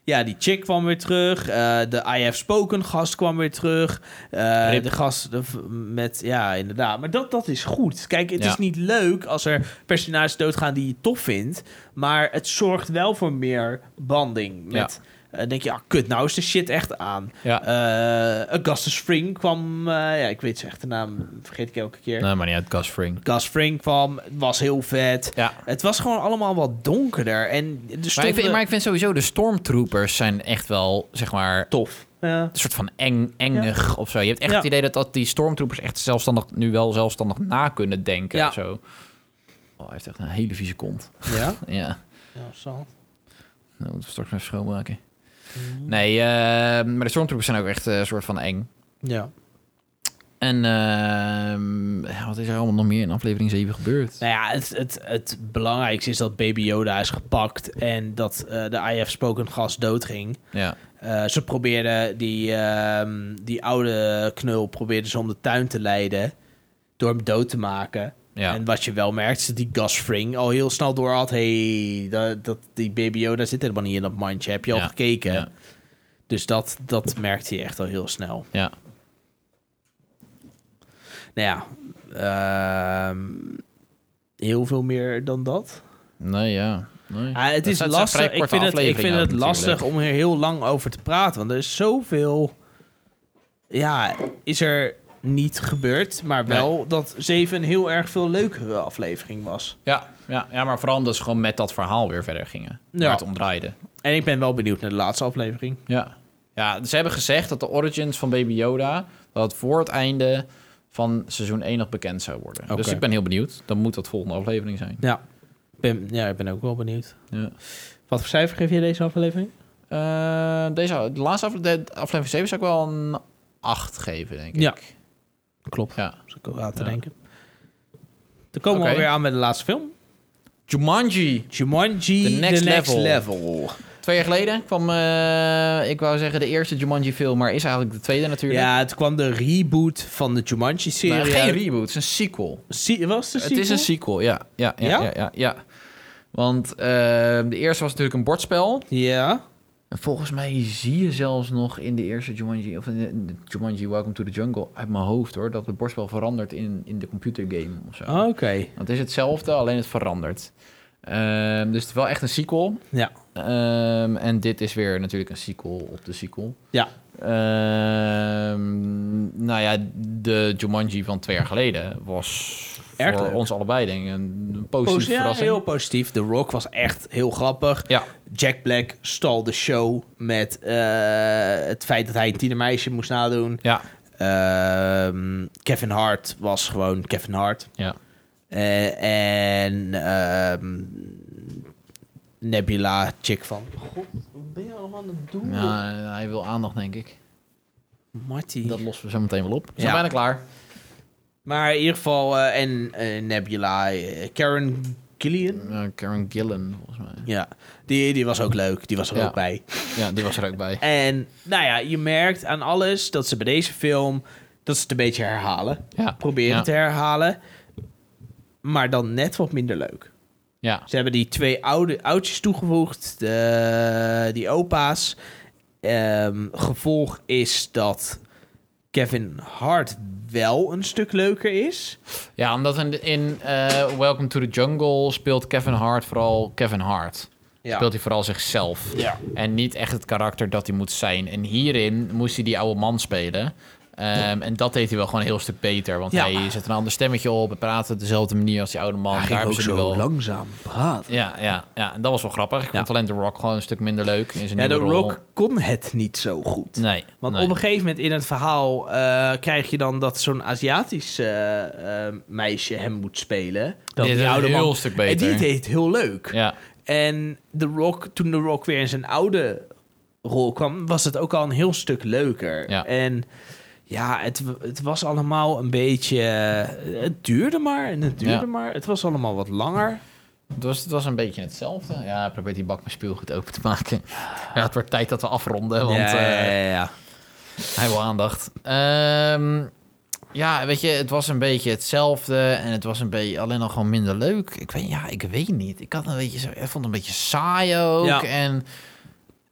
Speaker 1: ja, die chick kwam weer terug. Eh, de I Have Spoken gast kwam weer terug. Eh,
Speaker 2: Rip.
Speaker 1: de gast de v- met... Ja, inderdaad. Maar dat, dat is goed. Kijk, het
Speaker 2: Ja.
Speaker 1: is niet leuk als er personages doodgaan die je tof vindt. Maar het zorgt wel voor meer banding.
Speaker 2: Ja.
Speaker 1: Met, eh, denk je, ah, kut, nou is de shit echt aan.
Speaker 2: Ja.
Speaker 1: Eh, Augustus Spring kwam... eh, ja, ik weet zijn echte naam. Vergeet ik elke keer.
Speaker 2: Nee, maar niet uit Gus Fring.
Speaker 1: Gus Fring kwam, het was heel vet.
Speaker 2: Ja.
Speaker 1: Het was gewoon allemaal wat donkerder. En de
Speaker 2: Maar ik, vind, maar ik vind sowieso de stormtroopers zijn echt wel, zeg maar,
Speaker 1: tof. Ja.
Speaker 2: een soort van eng, engig of zo. Je hebt echt
Speaker 1: Ja.
Speaker 2: het idee dat, dat die stormtroopers echt zelfstandig, nu wel zelfstandig na kunnen denken
Speaker 1: Ja.
Speaker 2: of zo. Oh, hij heeft echt een hele vieze kont.
Speaker 1: Ja?
Speaker 2: Ja,
Speaker 1: ja, zo.
Speaker 2: dat moeten we straks maar even schoonmaken. Nee, eh, maar de stormtroopers zijn ook echt eh, een soort van eng.
Speaker 1: Ja.
Speaker 2: En ehm, wat is er allemaal nog meer in aflevering 7 gebeurd?
Speaker 1: Nou ja, het, het, het belangrijkste is dat Baby Yoda is gepakt en dat eh, de IF Spoken gast doodging.
Speaker 2: Ja.
Speaker 1: Eh, ze probeerden die, ehm, die oude knul probeerden ze om de tuin te leiden door hem dood te maken.
Speaker 2: Ja.
Speaker 1: En wat je wel merkt, is dat die Gus Fring al heel snel door had... hey, dat, dat, die BBO, daar zit helemaal niet in dat mandje. Heb je al
Speaker 2: Ja,
Speaker 1: gekeken?
Speaker 2: ja.
Speaker 1: Dus dat, dat merkte je echt al heel snel.
Speaker 2: ja.
Speaker 1: Nou ja, ehm, heel veel meer dan dat.
Speaker 2: Nee, ja. Nee.
Speaker 1: Ah, het
Speaker 2: Dat
Speaker 1: is
Speaker 2: zijn- zijn
Speaker 1: lastig.
Speaker 2: vrij
Speaker 1: Ik
Speaker 2: korte
Speaker 1: vind het, ik vind
Speaker 2: afleveringen
Speaker 1: het
Speaker 2: ook
Speaker 1: lastig
Speaker 2: natuurlijk.
Speaker 1: om er heel lang over te praten. Want er is zoveel. Ja, is er niet gebeurd. Maar wel dat 7 een heel erg veel leukere aflevering was.
Speaker 2: Ja, ja, ja, maar vooral omdat ze gewoon met dat verhaal weer verder gingen.
Speaker 1: Ja.
Speaker 2: Waar het om draaide.
Speaker 1: En ik ben wel benieuwd naar de laatste aflevering.
Speaker 2: Ja. ja, ze hebben gezegd dat de origins van Baby Yoda... dat het voor het einde van seizoen 1 nog bekend zou worden. Dus
Speaker 1: Oké.
Speaker 2: ik ben heel benieuwd. Dan moet dat volgende aflevering zijn.
Speaker 1: Ja. Ik Ben, ja, ik ben ook wel benieuwd.
Speaker 2: Ja.
Speaker 1: Wat voor cijfer geef je deze aflevering?
Speaker 2: Eh, deze, de laatste afle- de aflevering 7 zou ik wel een 8 geven, denk ik.
Speaker 1: Ja. Klopt.
Speaker 2: ja.
Speaker 1: Als ik over aan te
Speaker 2: Ja.
Speaker 1: denken. Dan komen
Speaker 2: Oké.
Speaker 1: we alweer aan bij de laatste film.
Speaker 2: Jumanji.
Speaker 1: Jumanji,
Speaker 2: The
Speaker 1: The
Speaker 2: Next
Speaker 1: Next,
Speaker 2: Level.
Speaker 1: level.
Speaker 2: Twee jaar geleden kwam, eh, ik wou zeggen, de eerste Jumanji-film... maar is eigenlijk de tweede natuurlijk.
Speaker 1: Ja, het kwam de reboot van de Jumanji-serie.
Speaker 2: Maar geen reboot, het is een sequel.
Speaker 1: Se- was de
Speaker 2: Het is een sequel, ja. Ja, ja, ja?
Speaker 1: Ja?
Speaker 2: ja, ja. Want eh, de eerste was natuurlijk een bordspel.
Speaker 1: Ja.
Speaker 2: En volgens mij zie je zelfs nog in de eerste Jumanji... of in de, in de Jumanji Welcome to the Jungle uit mijn hoofd, hoor... dat het bordspel verandert in, in de computergame of zo.
Speaker 1: Oké.
Speaker 2: Want het is hetzelfde, alleen het verandert. Ehm, dus het is wel echt een sequel.
Speaker 1: Ja.
Speaker 2: Ehm, en dit is weer natuurlijk een sequel op de sequel.
Speaker 1: Ja.
Speaker 2: Ehm, nou ja, de Jumanji van twee jaar geleden was
Speaker 1: Erg
Speaker 2: voor
Speaker 1: leuk.
Speaker 2: ons allebei denk ik een een positieve
Speaker 1: ja,
Speaker 2: verrassing.
Speaker 1: heel positief. The Rock was echt heel grappig.
Speaker 2: Ja,
Speaker 1: Jack Black stal de show met eh, het feit dat hij een tienermeisje moest nadoen.
Speaker 2: ja,
Speaker 1: Ehm, Kevin Hart was gewoon Kevin Hart.
Speaker 2: ja.
Speaker 1: Eh, en ehm, Nebula, chick van... God, wat ben je allemaal aan het doen?
Speaker 2: Nou, hij wil aandacht denk ik.
Speaker 1: Marty.
Speaker 2: Dat lossen we zo meteen wel op. We zijn
Speaker 1: Ja.
Speaker 2: bijna klaar.
Speaker 1: Maar in ieder geval, eh, en eh, Nebula, eh, Karen Gillian.
Speaker 2: Eh, Karen Gillen volgens mij.
Speaker 1: Ja, die, die was ook leuk. Die was er
Speaker 2: Ja.
Speaker 1: ook bij.
Speaker 2: Ja, die was er ook bij.
Speaker 1: En nou ja, je merkt aan alles dat ze bij deze film... dat ze het een beetje herhalen.
Speaker 2: Ja,
Speaker 1: Proberen
Speaker 2: ja.
Speaker 1: te herhalen. Maar dan net wat minder leuk.
Speaker 2: Ja,
Speaker 1: Ze hebben die twee oude oudjes toegevoegd. De, die opa's. Ehm, gevolg is dat Kevin Hart wel een stuk leuker is.
Speaker 2: ja omdat in, in eh, Welcome to the Jungle speelt Kevin Hart vooral Kevin Hart.
Speaker 1: Ja.
Speaker 2: Speelt hij vooral zichzelf.
Speaker 1: Ja.
Speaker 2: En niet echt het karakter dat hij moet zijn. En hierin moest hij die oude man spelen. Ehm, En dat deed hij wel gewoon een heel stuk beter. Want
Speaker 1: Ja.
Speaker 2: hij zet een ander stemmetje op. en praat op dezelfde manier als die oude man. Daar hebben ze nu wel...
Speaker 1: langzaam praten.
Speaker 2: Ja, ja, ja, en dat was wel grappig. Ik
Speaker 1: Ja.
Speaker 2: vond alleen The Rock gewoon een stuk minder leuk. In zijn
Speaker 1: Ja, de
Speaker 2: nieuwe rol.
Speaker 1: Rock kon het niet zo goed.
Speaker 2: Nee.
Speaker 1: Want
Speaker 2: nee.
Speaker 1: op een gegeven moment in het verhaal eh, krijg je dan dat zo'n Aziatisch eh, eh, meisje hem moet spelen. Dat
Speaker 2: Dit is een heel stuk beter.
Speaker 1: En die deed heel leuk.
Speaker 2: Ja,
Speaker 1: En The Rock, toen The Rock weer in zijn oude rol kwam, was het ook al een heel stuk leuker.
Speaker 2: Ja.
Speaker 1: En ja, het, w- het was allemaal een beetje... eh, Het duurde maar en het duurde
Speaker 2: Ja.
Speaker 1: maar. Het was allemaal wat langer.
Speaker 2: het was, het was een beetje hetzelfde. Ja, hij probeert die bak met speelgoed open te maken. Ja, het wordt tijd dat we afronden, want
Speaker 1: ja, ja,
Speaker 2: eh,
Speaker 1: ja, ja.
Speaker 2: Hij wil aandacht. Ehm, ja, weet je, het was een beetje hetzelfde. En het was een beetje alleen al gewoon minder leuk. Ik weet, ja, ik weet niet. Ik had een beetje zo, ik vond het een beetje saai ook.
Speaker 1: Ja.
Speaker 2: En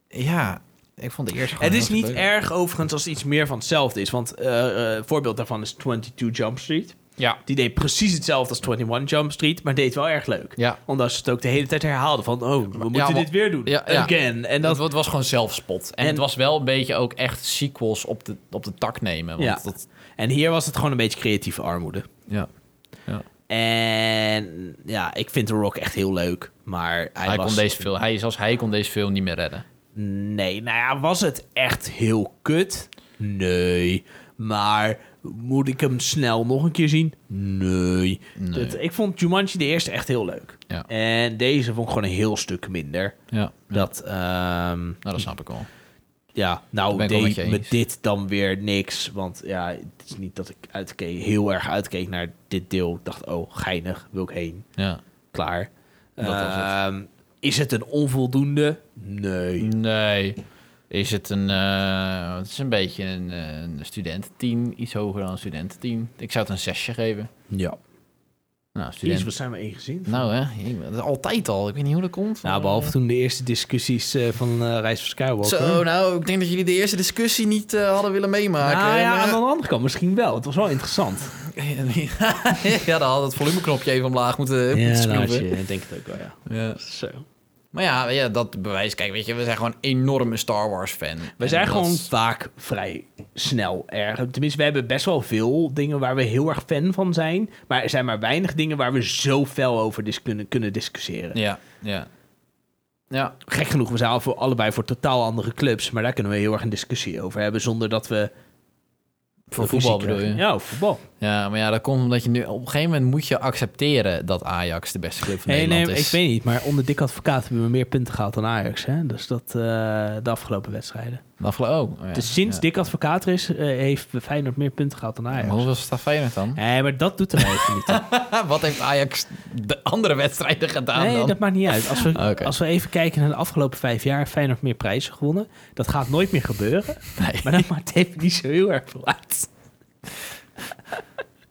Speaker 2: ja, ik vond de eerste gewoon
Speaker 1: Het is
Speaker 2: heel
Speaker 1: niet
Speaker 2: leuk.
Speaker 1: erg overigens als het iets meer van hetzelfde is. Want eh, eh, voorbeeld daarvan is 22 Jump Street.
Speaker 2: Ja,
Speaker 1: Die deed precies hetzelfde als 21 Jump Street, maar deed wel erg leuk.
Speaker 2: ja.
Speaker 1: Omdat ze het ook de hele tijd herhaalden van, oh, we moeten
Speaker 2: maar-
Speaker 1: dit weer doen.
Speaker 2: ja, ja.
Speaker 1: Again. En
Speaker 2: En
Speaker 1: dat,
Speaker 2: dat het was gewoon zelfspot. En,
Speaker 1: En-
Speaker 2: het was wel een beetje ook echt sequels op de, op de tak nemen. Want
Speaker 1: Ja.
Speaker 2: Dat,
Speaker 1: en hier was het gewoon een beetje creatieve armoede.
Speaker 2: ja.
Speaker 1: En ja, ik vind The Rock echt heel leuk, maar hij,
Speaker 2: Hij,
Speaker 1: was...
Speaker 2: kon deze film, hij, zelfs hij kon deze film niet meer redden.
Speaker 1: Nee, nou ja, was het echt heel kut? Nee. Maar moet ik hem snel nog een keer zien? Nee.
Speaker 2: Nee.
Speaker 1: Het- ik vond Jumanji de eerste echt heel leuk.
Speaker 2: Ja.
Speaker 1: En deze vond ik gewoon een heel stuk minder.
Speaker 2: Ja,
Speaker 1: Dat, ehm,
Speaker 2: nou, dat snap ik wel.
Speaker 1: ja,
Speaker 2: ben
Speaker 1: nou
Speaker 2: ik wel met
Speaker 1: deed
Speaker 2: je
Speaker 1: me
Speaker 2: eens.
Speaker 1: dit dan weer niks. Want ja, het is niet dat ik uitkeek, heel erg uitkeek naar dit deel. Ik dacht, oh, geinig, wil ik heen.
Speaker 2: Ja.
Speaker 1: Klaar.
Speaker 2: Dat was het.
Speaker 1: Ehm, Is het een onvoldoende? Nee.
Speaker 2: Nee. Is het een. eh, het is een beetje een, eh, een studententeam. Iets hoger dan een studententeam. Ik zou het een zesje geven.
Speaker 1: Ja.
Speaker 2: Nou,
Speaker 1: Jezus,
Speaker 2: student.
Speaker 1: wat zijn we ingezien?
Speaker 2: Nou hè, ik- dat is altijd al. Ik weet niet hoe dat komt.
Speaker 1: Nou, behalve toen de eerste discussies eh, van eh Reis van Skywalker.
Speaker 2: Zo, nou, ik denk dat jullie de eerste discussie niet eh, hadden willen meemaken. Eh,
Speaker 1: nou ja, aan
Speaker 2: Maar-
Speaker 1: de andere kant misschien wel. Het was wel interessant.
Speaker 2: ja, dan had het volumeknopje even omlaag moeten, moeten schroeven.
Speaker 1: je denk het ook wel, ja.
Speaker 2: Ja.
Speaker 1: Zo.
Speaker 2: Maar ja, ja, dat bewijst. Kijk, weet je, we zijn gewoon enorme Star Wars fan.
Speaker 1: We zijn gewoon vaak vrij snel erg. Tenminste, we hebben best wel veel dingen waar we heel erg fan van zijn. Maar er zijn maar weinig dingen waar we zo fel over dis kunnen, kunnen discussiëren.
Speaker 2: Ja, ja. Ja,
Speaker 1: Gek genoeg, we zijn al voor, allebei voor totaal andere clubs. Maar daar kunnen we heel erg een discussie over hebben. Zonder dat we.
Speaker 2: voor
Speaker 1: ruzie
Speaker 2: voetbal bedoel
Speaker 1: krijgen.
Speaker 2: je.
Speaker 1: Ja, over voetbal.
Speaker 2: Ja, maar ja, dat komt omdat je nu... Op een gegeven moment moet je accepteren dat Ajax de beste club van
Speaker 1: Nee, nee,
Speaker 2: Nederland
Speaker 1: eh, ik
Speaker 2: is.
Speaker 1: weet niet. Maar onder dik advocaat hebben we meer punten gehaald dan Ajax. Hè? Dus dat eh, de afgelopen wedstrijden.
Speaker 2: Dan geloof oh, ja,
Speaker 1: dus sinds
Speaker 2: ja.
Speaker 1: dik advocaat er is, eh, heeft Feyenoord meer punten gehaald dan Ajax.
Speaker 2: Maar hoeveel staat Feyenoord dan?
Speaker 1: Nee, maar dat doet er even niet. toe.
Speaker 2: Wat heeft Ajax de andere wedstrijden gedaan
Speaker 1: Nee,
Speaker 2: dan? Ah,
Speaker 1: dat maakt niet uit. Als we,
Speaker 2: Oké.
Speaker 1: als we even kijken naar de afgelopen vijf jaar, heeft Feyenoord meer prijzen gewonnen. Dat gaat nooit meer gebeuren.
Speaker 2: Nee.
Speaker 1: Maar dat maakt even niet zo heel erg veel uit.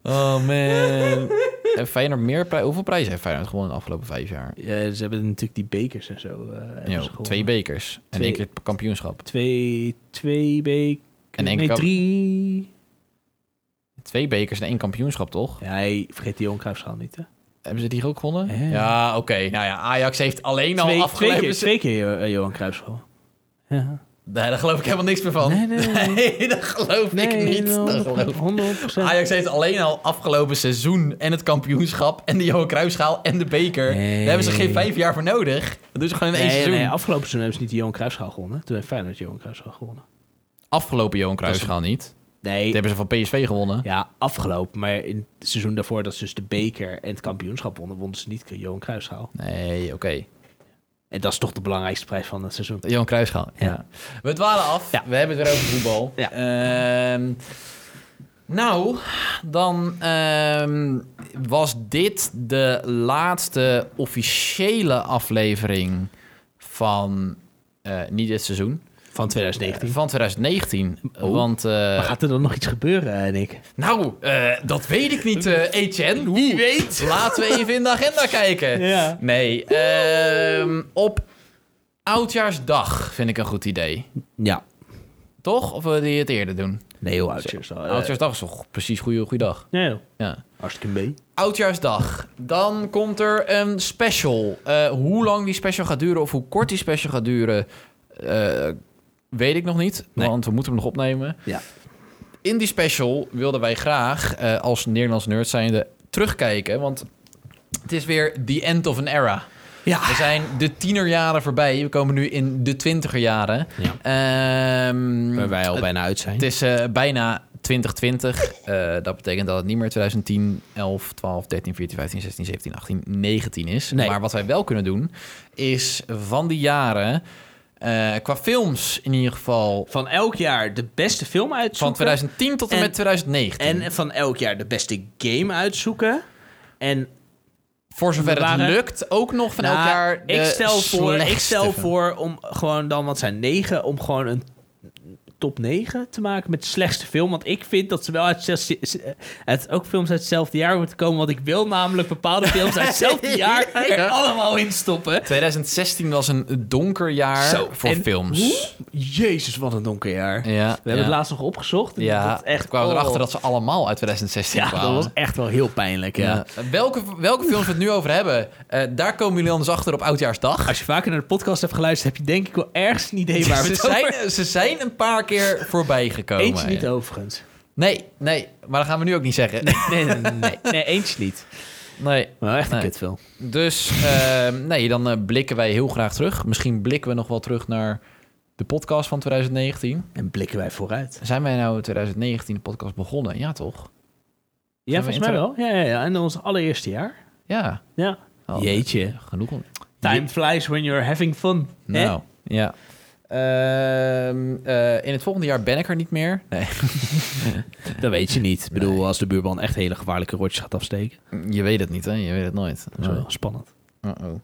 Speaker 2: Oh man. heeft Feyenoord meer pri- Hoeveel prijzen heeft Feyenoord gewonnen de afgelopen vijf jaar?
Speaker 1: Ja, ze hebben natuurlijk die bekers en zo. eh, hebben
Speaker 2: Jo,
Speaker 1: ze gewonnen.
Speaker 2: twee bekers en
Speaker 1: Twee-
Speaker 2: één keer het kampioenschap.
Speaker 1: Twee, twee bekers.
Speaker 2: En één
Speaker 1: nee,
Speaker 2: kap-
Speaker 1: drie.
Speaker 2: Twee bekers en één kampioenschap, toch?
Speaker 1: Ja, hij vergeet die onkruisschaal niet, hè?
Speaker 2: Hebben ze die ook gewonnen?
Speaker 1: Ja.
Speaker 2: Ja, oké. Nou ja, Ajax heeft alleen al
Speaker 1: twee, twee
Speaker 2: afgelopen...
Speaker 1: keer, twee keer Jo- eh, Johan Cruijffschool. Ja.
Speaker 2: Nee, daar geloof ik helemaal niks meer van.
Speaker 1: Nee, nee, nee.
Speaker 2: dat geloof ik
Speaker 1: Nee,
Speaker 2: niet. Dat Ah, geloof
Speaker 1: 100%.
Speaker 2: ik-
Speaker 1: 100%.
Speaker 2: Ajax heeft alleen al afgelopen seizoen en het kampioenschap en de Johan Cruijffschaal en de beker.
Speaker 1: Nee.
Speaker 2: Daar hebben ze geen vijf jaar voor nodig. Dat doen ze gewoon in één
Speaker 1: Nee,
Speaker 2: seizoen.
Speaker 1: nee, afgelopen seizoen hebben ze niet de Johan Cruijffschaal gewonnen. Toen heeft Feyenoord Johan Cruijffschaal gewonnen.
Speaker 2: Afgelopen Johan Cruijffschaal niet.
Speaker 1: Nee,
Speaker 2: Dat hebben ze van PSV gewonnen.
Speaker 1: Ja, afgelopen. Maar in het seizoen daarvoor dat ze dus de beker en het kampioenschap wonnen, wonnen ze niet de Johan Cruijffschaal.
Speaker 2: Nee, oké.
Speaker 1: En dat is toch de belangrijkste prijs van het seizoen.
Speaker 2: Johan Cruijffschaal. Ja.
Speaker 1: Ja.
Speaker 2: We dwalen af.
Speaker 1: Ja.
Speaker 2: We hebben het weer over voetbal.
Speaker 1: Ja.
Speaker 2: Ehm, nou, dan ehm, was dit de laatste officiële aflevering van eh, niet dit seizoen. Eh,
Speaker 1: Van 2019.
Speaker 2: Van 2019.
Speaker 1: Oh.
Speaker 2: Want, eh,
Speaker 1: Maar gaat er dan nog iets gebeuren, Nick?
Speaker 2: nou, eh, dat weet ik niet, eh Etienne. Wie weet. Laten we even in de agenda kijken.
Speaker 1: Ja.
Speaker 2: Nee, ehm, op Oudjaarsdag vind ik een goed idee.
Speaker 1: Ja.
Speaker 2: Toch? Of wil je het eerder doen?
Speaker 1: Nee, heel oudjes. al. Eh,
Speaker 2: Oudjaarsdag is toch precies goede, goede dag.
Speaker 1: Nee, joh.
Speaker 2: Ja.
Speaker 1: hartstikke mee.
Speaker 2: Oudjaarsdag. Dan komt er een special. Eh, hoe lang die special gaat duren of hoe kort die special gaat duren, eh, weet ik nog niet.
Speaker 1: Nee.
Speaker 2: Want we moeten hem nog opnemen.
Speaker 1: Ja.
Speaker 2: In die special wilden wij graag, eh, als Nederlands nerd zijnde, terugkijken. Want het is weer the end of an era.
Speaker 1: Ja.
Speaker 2: We zijn de tienerjaren voorbij. We komen nu in de twintigerjaren.
Speaker 1: Ja.
Speaker 2: Ehm,
Speaker 1: Waar wij al bijna uit zijn.
Speaker 2: het is eh, bijna 2020. Eh, dat betekent dat het niet meer 2010, 11, 12, 13, 14, 15, 16, 17, 18, 19 is.
Speaker 1: Nee.
Speaker 2: Maar wat wij wel kunnen doen, is van die jaren, eh, qua films in ieder geval,
Speaker 1: Van elk jaar de beste film uitzoeken.
Speaker 2: van 2010 tot en,
Speaker 1: En-
Speaker 2: met 2019.
Speaker 1: En van elk jaar de beste game uitzoeken. En
Speaker 2: voor zover
Speaker 1: we waren-
Speaker 2: het lukt, ook nog van elk
Speaker 1: Nou,
Speaker 2: jaar de
Speaker 1: ik stel voor, Ik
Speaker 2: slechtste
Speaker 1: stel
Speaker 2: film.
Speaker 1: voor om gewoon dan, wat zijn negen, om gewoon een top 9 te maken met de slechtste film. Want ik vind dat ze wel uit, zes- eh, uit ook films uit hetzelfde jaar moeten komen. Want ik wil namelijk bepaalde films uit hetzelfde jaar er allemaal in stoppen.
Speaker 2: 2016 was een donker jaar
Speaker 1: Zo,
Speaker 2: voor
Speaker 1: en
Speaker 2: films.
Speaker 1: hoe- Jezus, wat een donker jaar.
Speaker 2: Ja,
Speaker 1: We hebben
Speaker 2: ja.
Speaker 1: het laatst nog opgezocht. en
Speaker 2: Ja,
Speaker 1: dat echt,
Speaker 2: ik kwam
Speaker 1: oh.
Speaker 2: erachter dat ze allemaal uit 2016
Speaker 1: Ja,
Speaker 2: kwamen.
Speaker 1: dat was echt wel heel pijnlijk, ja.
Speaker 2: Ja. Welke, welke films we het nu over hebben, eh, daar komen jullie anders achter op Oudjaarsdag.
Speaker 1: Als je vaker naar de podcast hebt geluisterd, heb je denk ik wel ergens een idee waar we
Speaker 2: ze,
Speaker 1: het over...
Speaker 2: zijn, Oh, ze zijn een paar keer voorbij gekomen.
Speaker 1: Eentje niet overigens.
Speaker 2: Nee, nee, maar dat gaan we nu ook niet zeggen.
Speaker 1: Nee, nee, nee, nee. nee eentje niet.
Speaker 2: Nee,
Speaker 1: Maar echt een
Speaker 2: Nee.
Speaker 1: kutfilm.
Speaker 2: dus ehm, nee, dan eh, blikken wij heel graag terug. Misschien blikken we nog wel terug naar de podcast van 2019.
Speaker 1: En blikken wij vooruit.
Speaker 2: Zijn wij nou in 2019 de podcast begonnen? Ja, toch?
Speaker 1: Ja,
Speaker 2: Zijn we
Speaker 1: volgens mij wel. Ja, ja, ja. En ons allereerste jaar.
Speaker 2: Ja.
Speaker 1: Ja.
Speaker 2: Oh,
Speaker 1: Jeetje.
Speaker 2: Genoeg om...
Speaker 1: Time flies when you're having fun. hè?
Speaker 2: Nou, ja. Ehm, eh, in het volgende jaar ben ik er niet meer. Nee.
Speaker 1: Dat weet je niet. Ik bedoel, als de buurman echt hele gevaarlijke rotjes gaat afsteken.
Speaker 2: Je weet het niet, hè? Je weet het nooit.
Speaker 1: Dat is wel spannend.
Speaker 2: Uh-oh.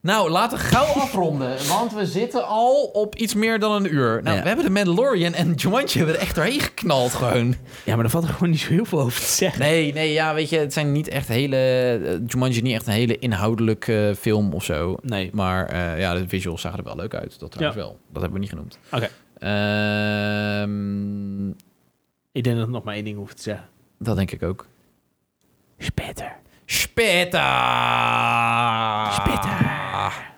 Speaker 2: Nou, laten we gauw afronden. Want we zitten al op iets meer dan een uur. Nou,
Speaker 1: Ja.
Speaker 2: we hebben de Mandalorian en Jumanji hebben er echt doorheen geknald gewoon.
Speaker 1: Ja, maar daar valt er gewoon niet zo heel veel over te zeggen.
Speaker 2: Nee, nee, ja, weet je, het zijn niet echt hele... eh, Jumanji is niet echt een hele inhoudelijke eh, film of zo.
Speaker 1: Nee.
Speaker 2: Maar eh, ja, de visuals zagen er wel leuk uit. Dat trouwens wel. Dat hebben we niet genoemd.
Speaker 1: Oké.
Speaker 2: Ehm,
Speaker 1: Ik denk dat ik nog maar één ding hoef te zeggen.
Speaker 2: dat denk ik ook.
Speaker 1: Spetter.
Speaker 2: Spitter!
Speaker 1: Spitter.